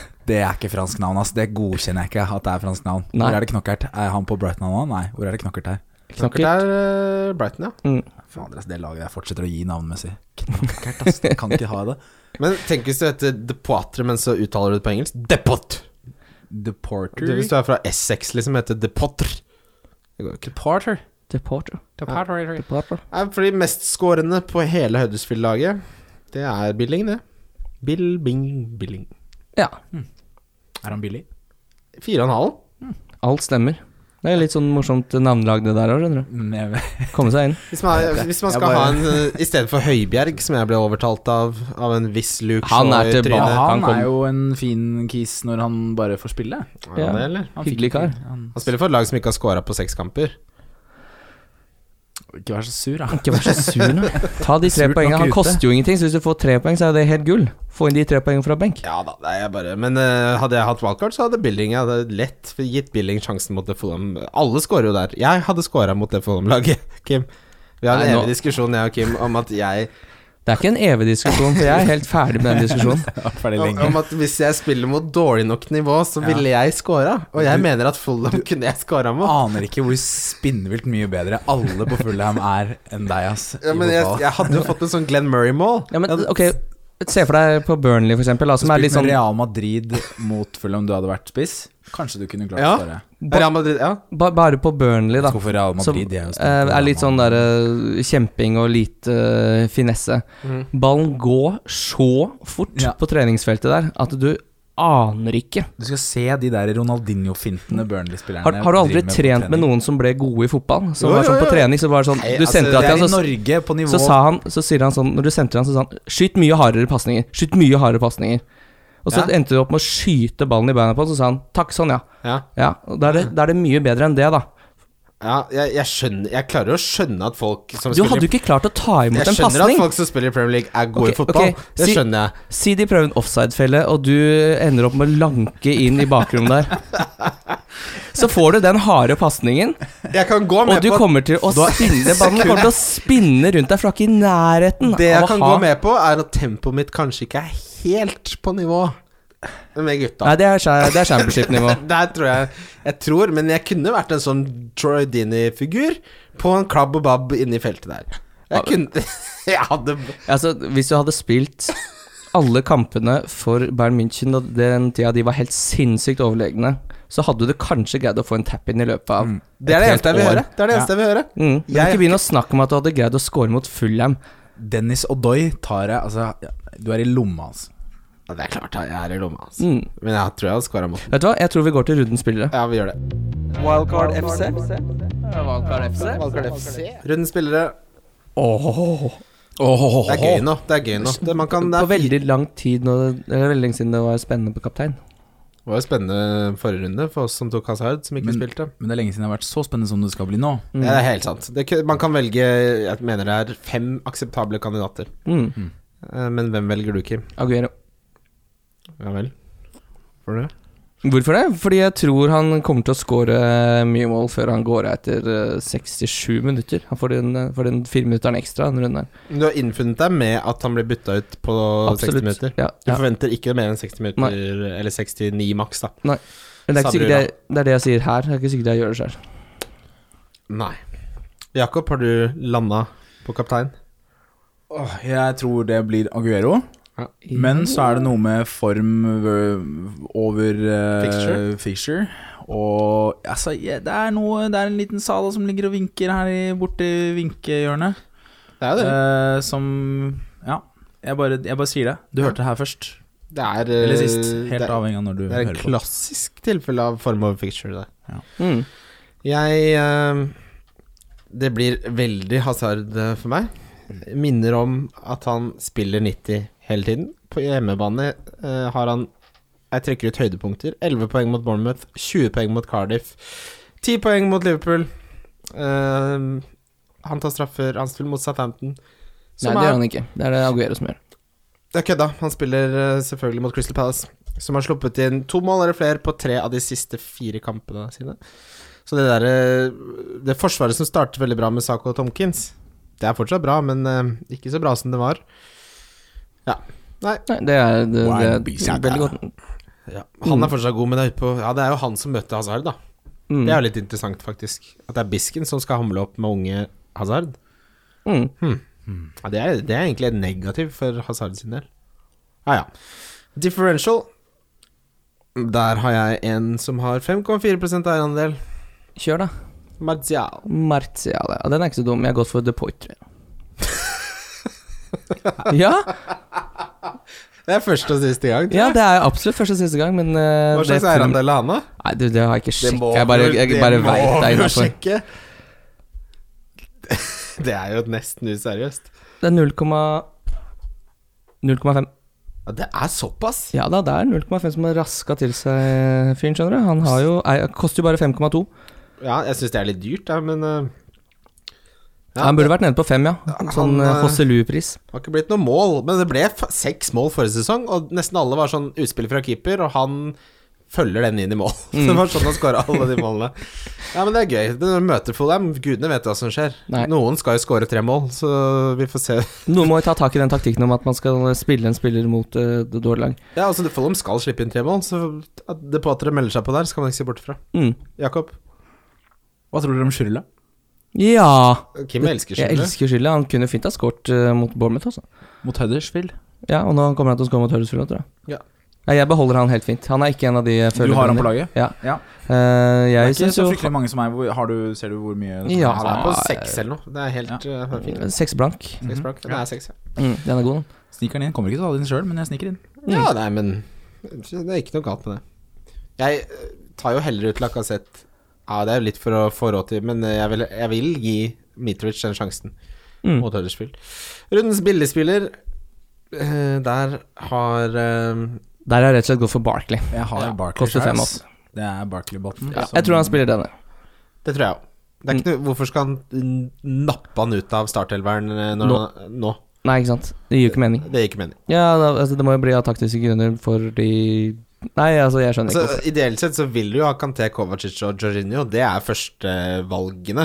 Det er ikke fransk navn, ass. Det godkjenner jeg ikke. At det er fransk navn Nei. Hvor er det Knockert? Er han på Brighton nå? Nei. Hvor er det Knockert her? Knockert Knockert. er eh, Brighton, ja. Fader, ass, det laget der fortsetter å gi navnmessig. Knockert, ass. Jeg kan ikke ha det. Men tenk hvis du heter De Poitre, men så uttaler du det på engelsk. Depot! The Du, Porter hvis du er fra Essex, liksom, heter De Potter. Det går jo ikke. Porter. Deporter. Porter. Deporter. Nei, for de mestskårende på hele Huddersfield-laget, det er Billing, det. Bill, bing, billing. Ja, Er han billig? Fire og en halv. alt stemmer. Det er litt sånn morsomt navnelag det der òg, skjønner du. Mm, jeg vet- Komme seg inn. Hvis man, hvis man Jeg skal bare- ha en eh, I stedet for Høibjerg, som jeg ble overtalt av Av en viss Luke Han Shaw er i tilbake. Ja, trynet. han Han kom. er jo en fin kis når han bare får spille. Er han Ja. det, eller? Han Hyggelig kar. Han, Han spiller for et lag som ikke har scora på seks kamper. ikke vær så sur, da. Ikke vær så sur nå. Ta de tre Surt nok poengene. Han ute. koster jo ingenting, så hvis du får tre poeng, så er det helt gull. Få inn de tre poengene fra benk. Ja da, nei, jeg bare Men eh, hadde jeg hatt wildcard, så hadde Billing jeg hadde lett gitt Billing sjansen mot det Fulham. Alle scorer jo der. Jeg hadde scora mot det Fulham-laget, Kim. Vi har en Nei, nå- evig diskusjon, jeg og Kim, om at jeg Det er ikke en evig diskusjon, for jeg er helt ferdig med den diskusjonen. Jeg har vært ferdig om, lenge. om at hvis jeg spiller mot dårlig nok nivå, så Ja. ville jeg scora. Og jeg mener at Fulham kunne jeg scora Ah, mot. Aner ikke hvor spinnvilt mye bedre alle på Fulham er enn deg, ass. Ja, men i jeg, fotball. jeg hadde jo fått en sånn Glenn Murray-mål. Ja, men ok, se for deg på Burnley, for eksempel, da, som er Spilt litt sånn med Real Madrid mot Fulham, du hadde vært spiss. Kanskje du kunne klart Ja. å skåre. Real Madrid, ja. ba, Bare på Burnley, da. Hvorfor Real Som Madrid? De er jo eh, er litt sånn der eh, kjemping og lite eh, finesse. Ballen går så fort Mm. Ja. på treningsfeltet der at du aner ikke. Du skal se de der Ronaldinho-fintene Burnley-spillerne Har, har du aldri driver på trent med trening. noen som ble gode i fotball? Jo, Som var jo, sånn på jo. trening, så var det sånn Nei, Du altså, sendte det Det er til i han, Norge, på så, nivå så sa han Så sier han sånn Når du sendte han, så sa han Skyt mye hardere pasninger. Skyt mye hardere pasninger. Og så Ja. endte du opp med å skyte ballen i beina på han, så sa han takk, sånn, ja. ja. Ja, og da er det, da er det mye bedre enn det, da. ja jeg, jeg, skjønner, jeg klarer jo å skjønne at folk som Du spiller hadde jo ikke klart å ta imot Jeg en skjønner at pasning. folk som spiller i Premier League, er gode Ok, i fotball. ok, Det si- skjønner jeg. Si de prøver en offside-felle, og du ender opp med å lanke inn i bakrommet der. Så får du den harde pasningen, Jeg kan gå og med du på kommer til å spinne Ballen kommer til å spinne rundt deg, for du er ikke i nærheten Det jeg av å kan ha gå med på, er at tempoet mitt kanskje ikke er helt på nivå med gutta. Nei, det er, cha- det er championship-nivå. Der tror jeg Jeg tror, men jeg kunne vært en sånn Troy Dini-figur på en klabb og babb inni feltet der. Jeg kunne Jeg hadde Altså, hvis du hadde spilt alle kampene for Bayern München og den tida de var helt sinnssykt overlegne, så hadde du kanskje greid å få en tap-in i løpet av Mm. Det er det et helt eneste jeg vil år. høre. Det er det eneste jeg vil høre. Mm. Men Jeg er ikke begynn å snakke om at du hadde greid å score mot Fulham. Dennis Odoi tar jeg Altså, ja, du er i lomma, altså. Ja, det er klart jeg er i lomma, altså. Mm. Men jeg tror jeg hadde scora mot den. Vet du hva, jeg tror vi går til rundens spillere. Ja, vi gjør det. Wildcard FC. Valkar FC. Rundens spillere. Åh Det er gøy nå. Det er gøy nå. Det, man kan, det På er fire- veldig lang tid nå, eller veldig lenge siden det var spennende på kaptein. Det var jo spennende forrige runde for oss som tok Hazard, som ikke Men- spilte. Men det er lenge siden det har vært så spennende som det skal bli nå. Mm. Det er helt sant. Det, kun- man kan velge Jeg mener det er fem akseptable kandidater. Mm. Eh, Men hvem velger du, Kim? Aguero. Ja vel. For det? Hvorfor det? Fordi jeg tror han kommer til å skåre mye mål før han går av etter eh, 67 minutter. Han får den, eh, får den fire minutteren ekstra denne runden her. Du har innfunnet deg med at han blir bytta ut på 60 minutter. Ja, Du ja. forventer ikke mer enn 60 minutter, eller 69 maks, da. Men det er ikke Samme sikkert jeg, det er det jeg sier her. Det er ikke sikkert jeg gjør det sjøl. Nei. Jakob, har du landa på kaptein? Åh, Jeg tror det blir Aguero. Men så er det noe med form v- over eh, Fixture. fixture. Og altså, jeg- det er noe Det er en liten Sala som ligger og vinker her i, borti vinkehjørnet. Det er jo det. Eh, som Ja. Jeg bare, jeg bare sier det. Du hørte det her først. Det er eh, Eller sist. det Helt er- avhengig av når du Det er en hører på. klassisk tilfelle av form over picture. Det. Mm. Jeg eh, Det blir veldig hasard eh, for meg. Minner om at han spiller 90 hele tiden. På hjemmebane eh, har han Jeg trekker ut høydepunkter. 11 poeng mot Bournemouth, 20 poeng mot Cardiff, 10 poeng mot Liverpool. Eh, han tar straffer, han spiller mot Southampton. Nei, Som er det gjør han ikke. Det er det Aguero som gjør. det er kødda. Han spiller eh, selvfølgelig mot Crystal Palace, som har sluppet inn to mål eller flere på tre av de siste fire kampene sine. Så det derre Det forsvaret som startet veldig bra med Sako og Tomkins, det er fortsatt bra, men eh, ikke så bra som det var. Ja. Nei, Nei, det er, det, Why be det sad? er veldig godt. han er fortsatt god, men det er, på, ja, det er jo han som møtte Hazard, da. Mm. Det er jo litt interessant, faktisk. At det er Bisken som skal hamle opp med unge Hazard. Mm. Ja, det, er, det er egentlig negativ for Hazard sin del. Ah, Ja, ja. Differential. Der har jeg en som har 5,4 eierandel. Kjør, da. Martial. Martial, ja. Den er ikke så dum. Jeg har gått for The Point, tror jeg. ja, Det er første og siste gang. tror ja, jeg. det er absolutt første og siste gang, men eh, Hva slags det- eierandel har han, da? Nei, du, det har jeg ikke Det sjekka. må Jeg bare, du- jeg det bare må veit det er Må innafor. sjekke. Det er jo nesten useriøst. Det er 0,5. 0,5. Ja, det er såpass? Ja da, det er 0,5 som har raska til seg fyren, skjønner du. Han har jo ei, Koster jo bare 5,2. Ja, jeg syns det er litt dyrt, da, men eh, ja, han burde vært nede på 5, ja. Sånn Han, eh, Hosselu-pris. Det har ikke blitt noe mål, men det ble f seks mål forrige sesong, og nesten alle var sånn utspill fra keeper, og han følger den inn i mål. det var sånn han skåra alle de målene. Ja, men det er gøy. Det møter Fulham. Gudene vet hva som skjer. Nei. Noen skal jo skåre tre mål, så vi får se. Noen må jo ta tak i den taktikken om at man skal spille en spiller mot eh, det dårlige lag. Ja, altså Fulham skal slippe inn tre mål, så at det på at dere melder seg på der, skal man ikke se bort fra. Mm. Jakob? Hva tror dere om Schürrle? Ja! Kim elsker Jeg skyldet. elsker Schiller. Han kunne fint ha skåret eh, mot Bournemouth, altså. Mot Huddersfield? Ja, og nå kommer han til å skåre mot Huddersfield, tror jeg. Ja. Nei, jeg beholder han helt fint. Han er ikke en av de jeg Du føler har han på laget? Ja. Ja. Eh, Det er jeg ikke syns så jo fryktelig mange som er hvor- har du, Ser du hvor mye Ah, Ja. Han er på seks eller noe. Det er helt ja. fint. Seks blank. Seks blank. Det er seks, ja. Mm, den er god, den. Sniker den inn. Kommer ikke til å ta den sjøl, men jeg sniker inn. Mm. Ja, nei, men det er ikke noe galt med det. Jeg eh, tar jo heller ut Lacassette. Ja, det er jo litt for å få råd til, men eh, jeg vil, jeg vil gi Mitrovic den sjansen Mm. mot Huddersfield. Rundens billigspiller, eh, der har eh, Der er jeg rett og slett gått for Barkley. Jeg har Ja, Barkley koster fem, Charles. altså. Det er Barkley-botten. Ja, jeg tror han spiller denne. Det tror jeg òg. Det er ikke Mm. noe, hvorfor skal han n- nappe han ut av startelveren eh, når Nå. han, nå? Nei, ikke sant. Det gir jo ikke mening. Det gir ikke mening. Ja, da, altså, det må jo bli av taktiske grunner fordi Nei, altså, jeg skjønner ikke Altså, ideelt sett så vil du jo ha Kanté, Kovacic og Jorginho. Det er førstevalgene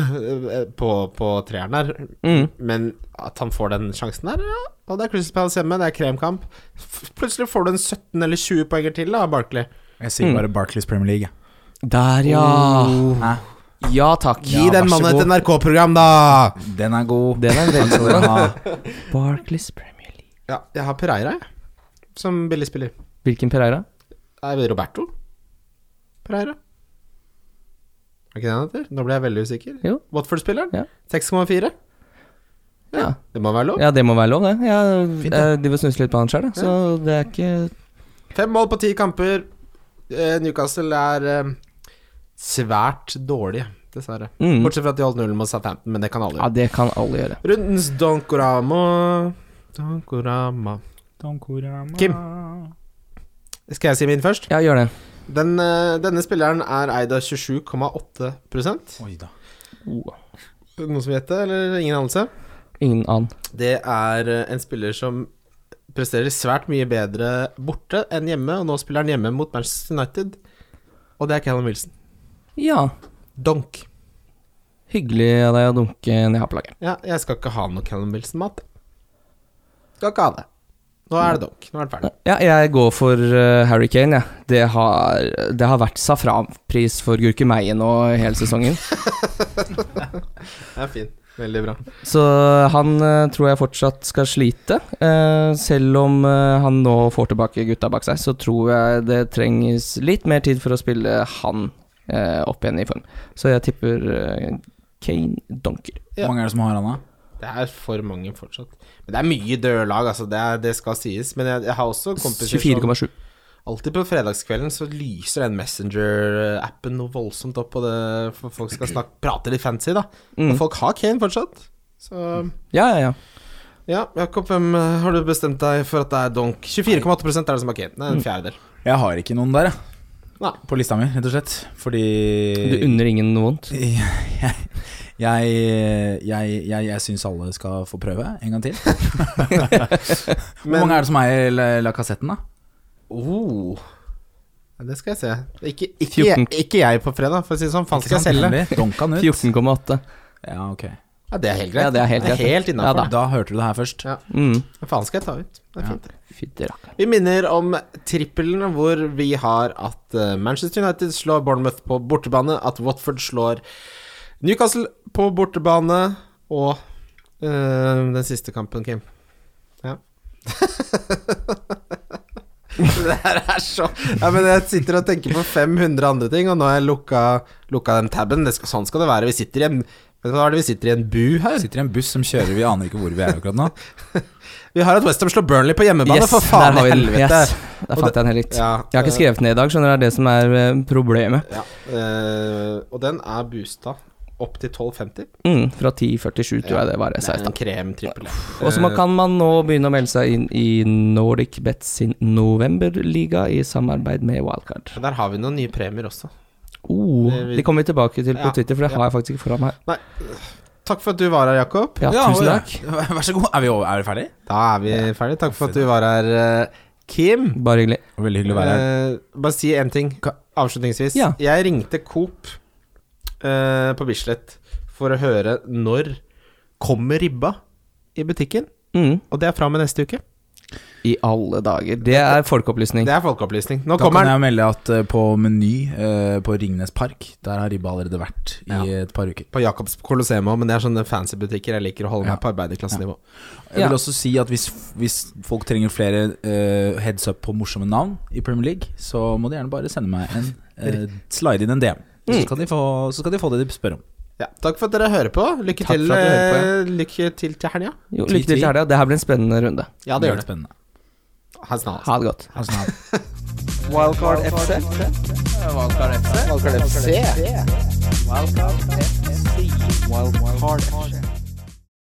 eh, på, på treeren her. Mm. Men at han får den sjansen her, ja. Og det er Crystal Palace hjemme, det er kremkamp. F- Plutselig får du en 17 eller 20 poenger til, da, Barkley. Jeg sier bare Barclays Premier League. hvorfor. Der, ja! Hæ? Ah, Ja takk. oh, Gi den mannen et NRK-program, da! Den er god. Den er veldig skal dere ha. Barclays Premier League. Ja, jeg har Pereira, jeg. Som billigspiller. Hvilken Pereira? Det er Roberto Pereira. Er ikke det han heter? Nå ble jeg veldig usikker. Jo. Watford-spilleren. Ja. 6,4. Ja. Det må være lov. ja, det må være lov, det. eh, Jeg, Fint, det. jeg driver og snuser litt på han sjøl, så det er ikke Fem mål på ti kamper. Eh, Newcastle er eh, svært dårlige, dessverre. Mm. Bortsett fra at de holdt nullen mot Southampton, men det kan alle Ja, gjøre. det kan alle gjøre. Rundens Donkorama Donkorama Kim. Skal jeg si min først? Ja, gjør det. Den, eh, denne spilleren er eid av 27,8 Oi da. Noen som vet det, eller ingen anelse? Ingen annen. Det er eh, en spiller som presterer svært mye bedre borte enn hjemme, og nå spiller han hjemme mot Manchester United, og det er Callum Wilson. Ja. Donk. Hyggelig av deg å dunke ned her på laget. Ja, jeg skal ikke ha noe Callum Wilson-mat. Skal ikke ha det. Nå er det donk. Nå er det ferdig. Ja, jeg går for eh, Harry Kane, jeg. Det, har, det har vært safranpris for gurkemeie nå hele sesongen. Det er fint. Veldig bra. Så han eh, tror jeg fortsatt skal slite. Eh, selv om eh, han nå får tilbake gutta bak seg, så tror jeg det trengs litt mer tid for å spille han eh, opp igjen i form. Så jeg tipper eh, Kane donker. Ja. Hvor mange er det som har han, da? Det er for mange fortsatt. Men det er mye dørlag, altså. Det, er, det skal sies. Men jeg, jeg har også kompiser som 24,7. Alltid på fredagskvelden så lyser den Messenger-appen noe voldsomt opp, og det, for folk skal snakke, prate litt fancy, da. Men Mm. folk har Kane fortsatt. Så Ja, ja, ja. ja, Jakob, hvem eh, har du bestemt deg for at det er donk? 24,8 er det som har Kane. Det er en fjerdedel. Jeg har ikke noen der, jeg. Nei. På lista mi, rett og slett. Fordi Du unner ingen noe vondt. Jeg, jeg, jeg, jeg, jeg syns alle skal få prøve en gang til. Hvor Men- mange er det som eier La- La Cassetten, da? Oh. Ja, det skal jeg se. Ikke, ikke, 14. jeg, ikke jeg på fredag, for å si det sånn. Faen skal jeg selge. Nemlig. Donk han ut. 14,8. Ja, ok. Ja, det er helt greit. Ja, det er helt greit. Ja innafor. da. Da hørte du det her først. Ja. Mm. Hva faen skal jeg ta ut? Det er Ja. fint. det. Fytti rakkeren. Vi minner om trippelen hvor vi har at eh, Manchester United slår Bournemouth på bortebane, at Watford slår Newcastle på bortebane, og eh, den siste kampen, Kim. Ja. det her er så ja, men Jeg sitter og tenker på 500 andre ting, og nå har jeg lukka, lukka den taben. Det skal, sånn skal det være. Vi sitter i en Vet du hva er det vi sitter i en bu her? Sitter i en buss som kjører, vi aner ikke hvor vi er akkurat nå. Vi har at Westham slår Burnley på hjemmebane, Yes, for faen i der har vi den. helvete! Yes, der Og fant jeg den helt litt. Ja, Jeg har ikke skrevet den ned i dag, skjønner du. Det er det som er eh, problemet. Ja, eh, og den er boosta opp til 12,50. Mm, fra 10,47 tror jeg det var jeg sa i stad. en kremtrippel. Og så man- kan man nå begynne å melde seg inn i Nordic Bet sin novemberliga i samarbeid med Wildcard. Eh, Der har vi noen nye premier også. Oh, det kommer vi tilbake til Ja, på Twitter, for det ja. har jeg faktisk ikke foran meg. Takk for at du var her, Jakob. Ja, tusen takk. Vær så god. Er vi, over, er vi ferdig? Da er vi ferdig. Takk for at du var her, eh, Kim. Bare hyggelig. Veldig hyggelig å være her. Eh, bare si én ting avslutningsvis. Ja. Jeg ringte Coop eh, på Bislett for å høre når kommer ribba i butikken. Mm, Og det er fra med neste uke. I alle dager. Det er folkeopplysning. Det er folkeopplysning. Nå Da kommer den. kan jeg melde at eh, på Meny eh, på Ringnes Park, der har ribba allerede vært i et par uker. På Jacobs Colosseum også, men det er sånne fancy butikker. Jeg liker å holde meg på arbeiderklassenivå. Jeg Ja. vil også si at hvis, hvis folk trenger flere eh, heads up på morsomme navn i Premier League, så må de gjerne bare sende meg en eh, slide inn en DM. Så Mm. skal, de få, så skal de få det de spør om. Ja, takk for at dere hører på. Lykke, Takk til, for at dere hører eh, lykke til til helga. Jo, lykke til til helga. Det her blir en spennende runde. Ja, er litt Spennende. Ha det snart. Ha det godt. Ha det sånn. Wildcard FC. Valkar FC. Wildcard FC. Wildcard FC. Wildcard FC.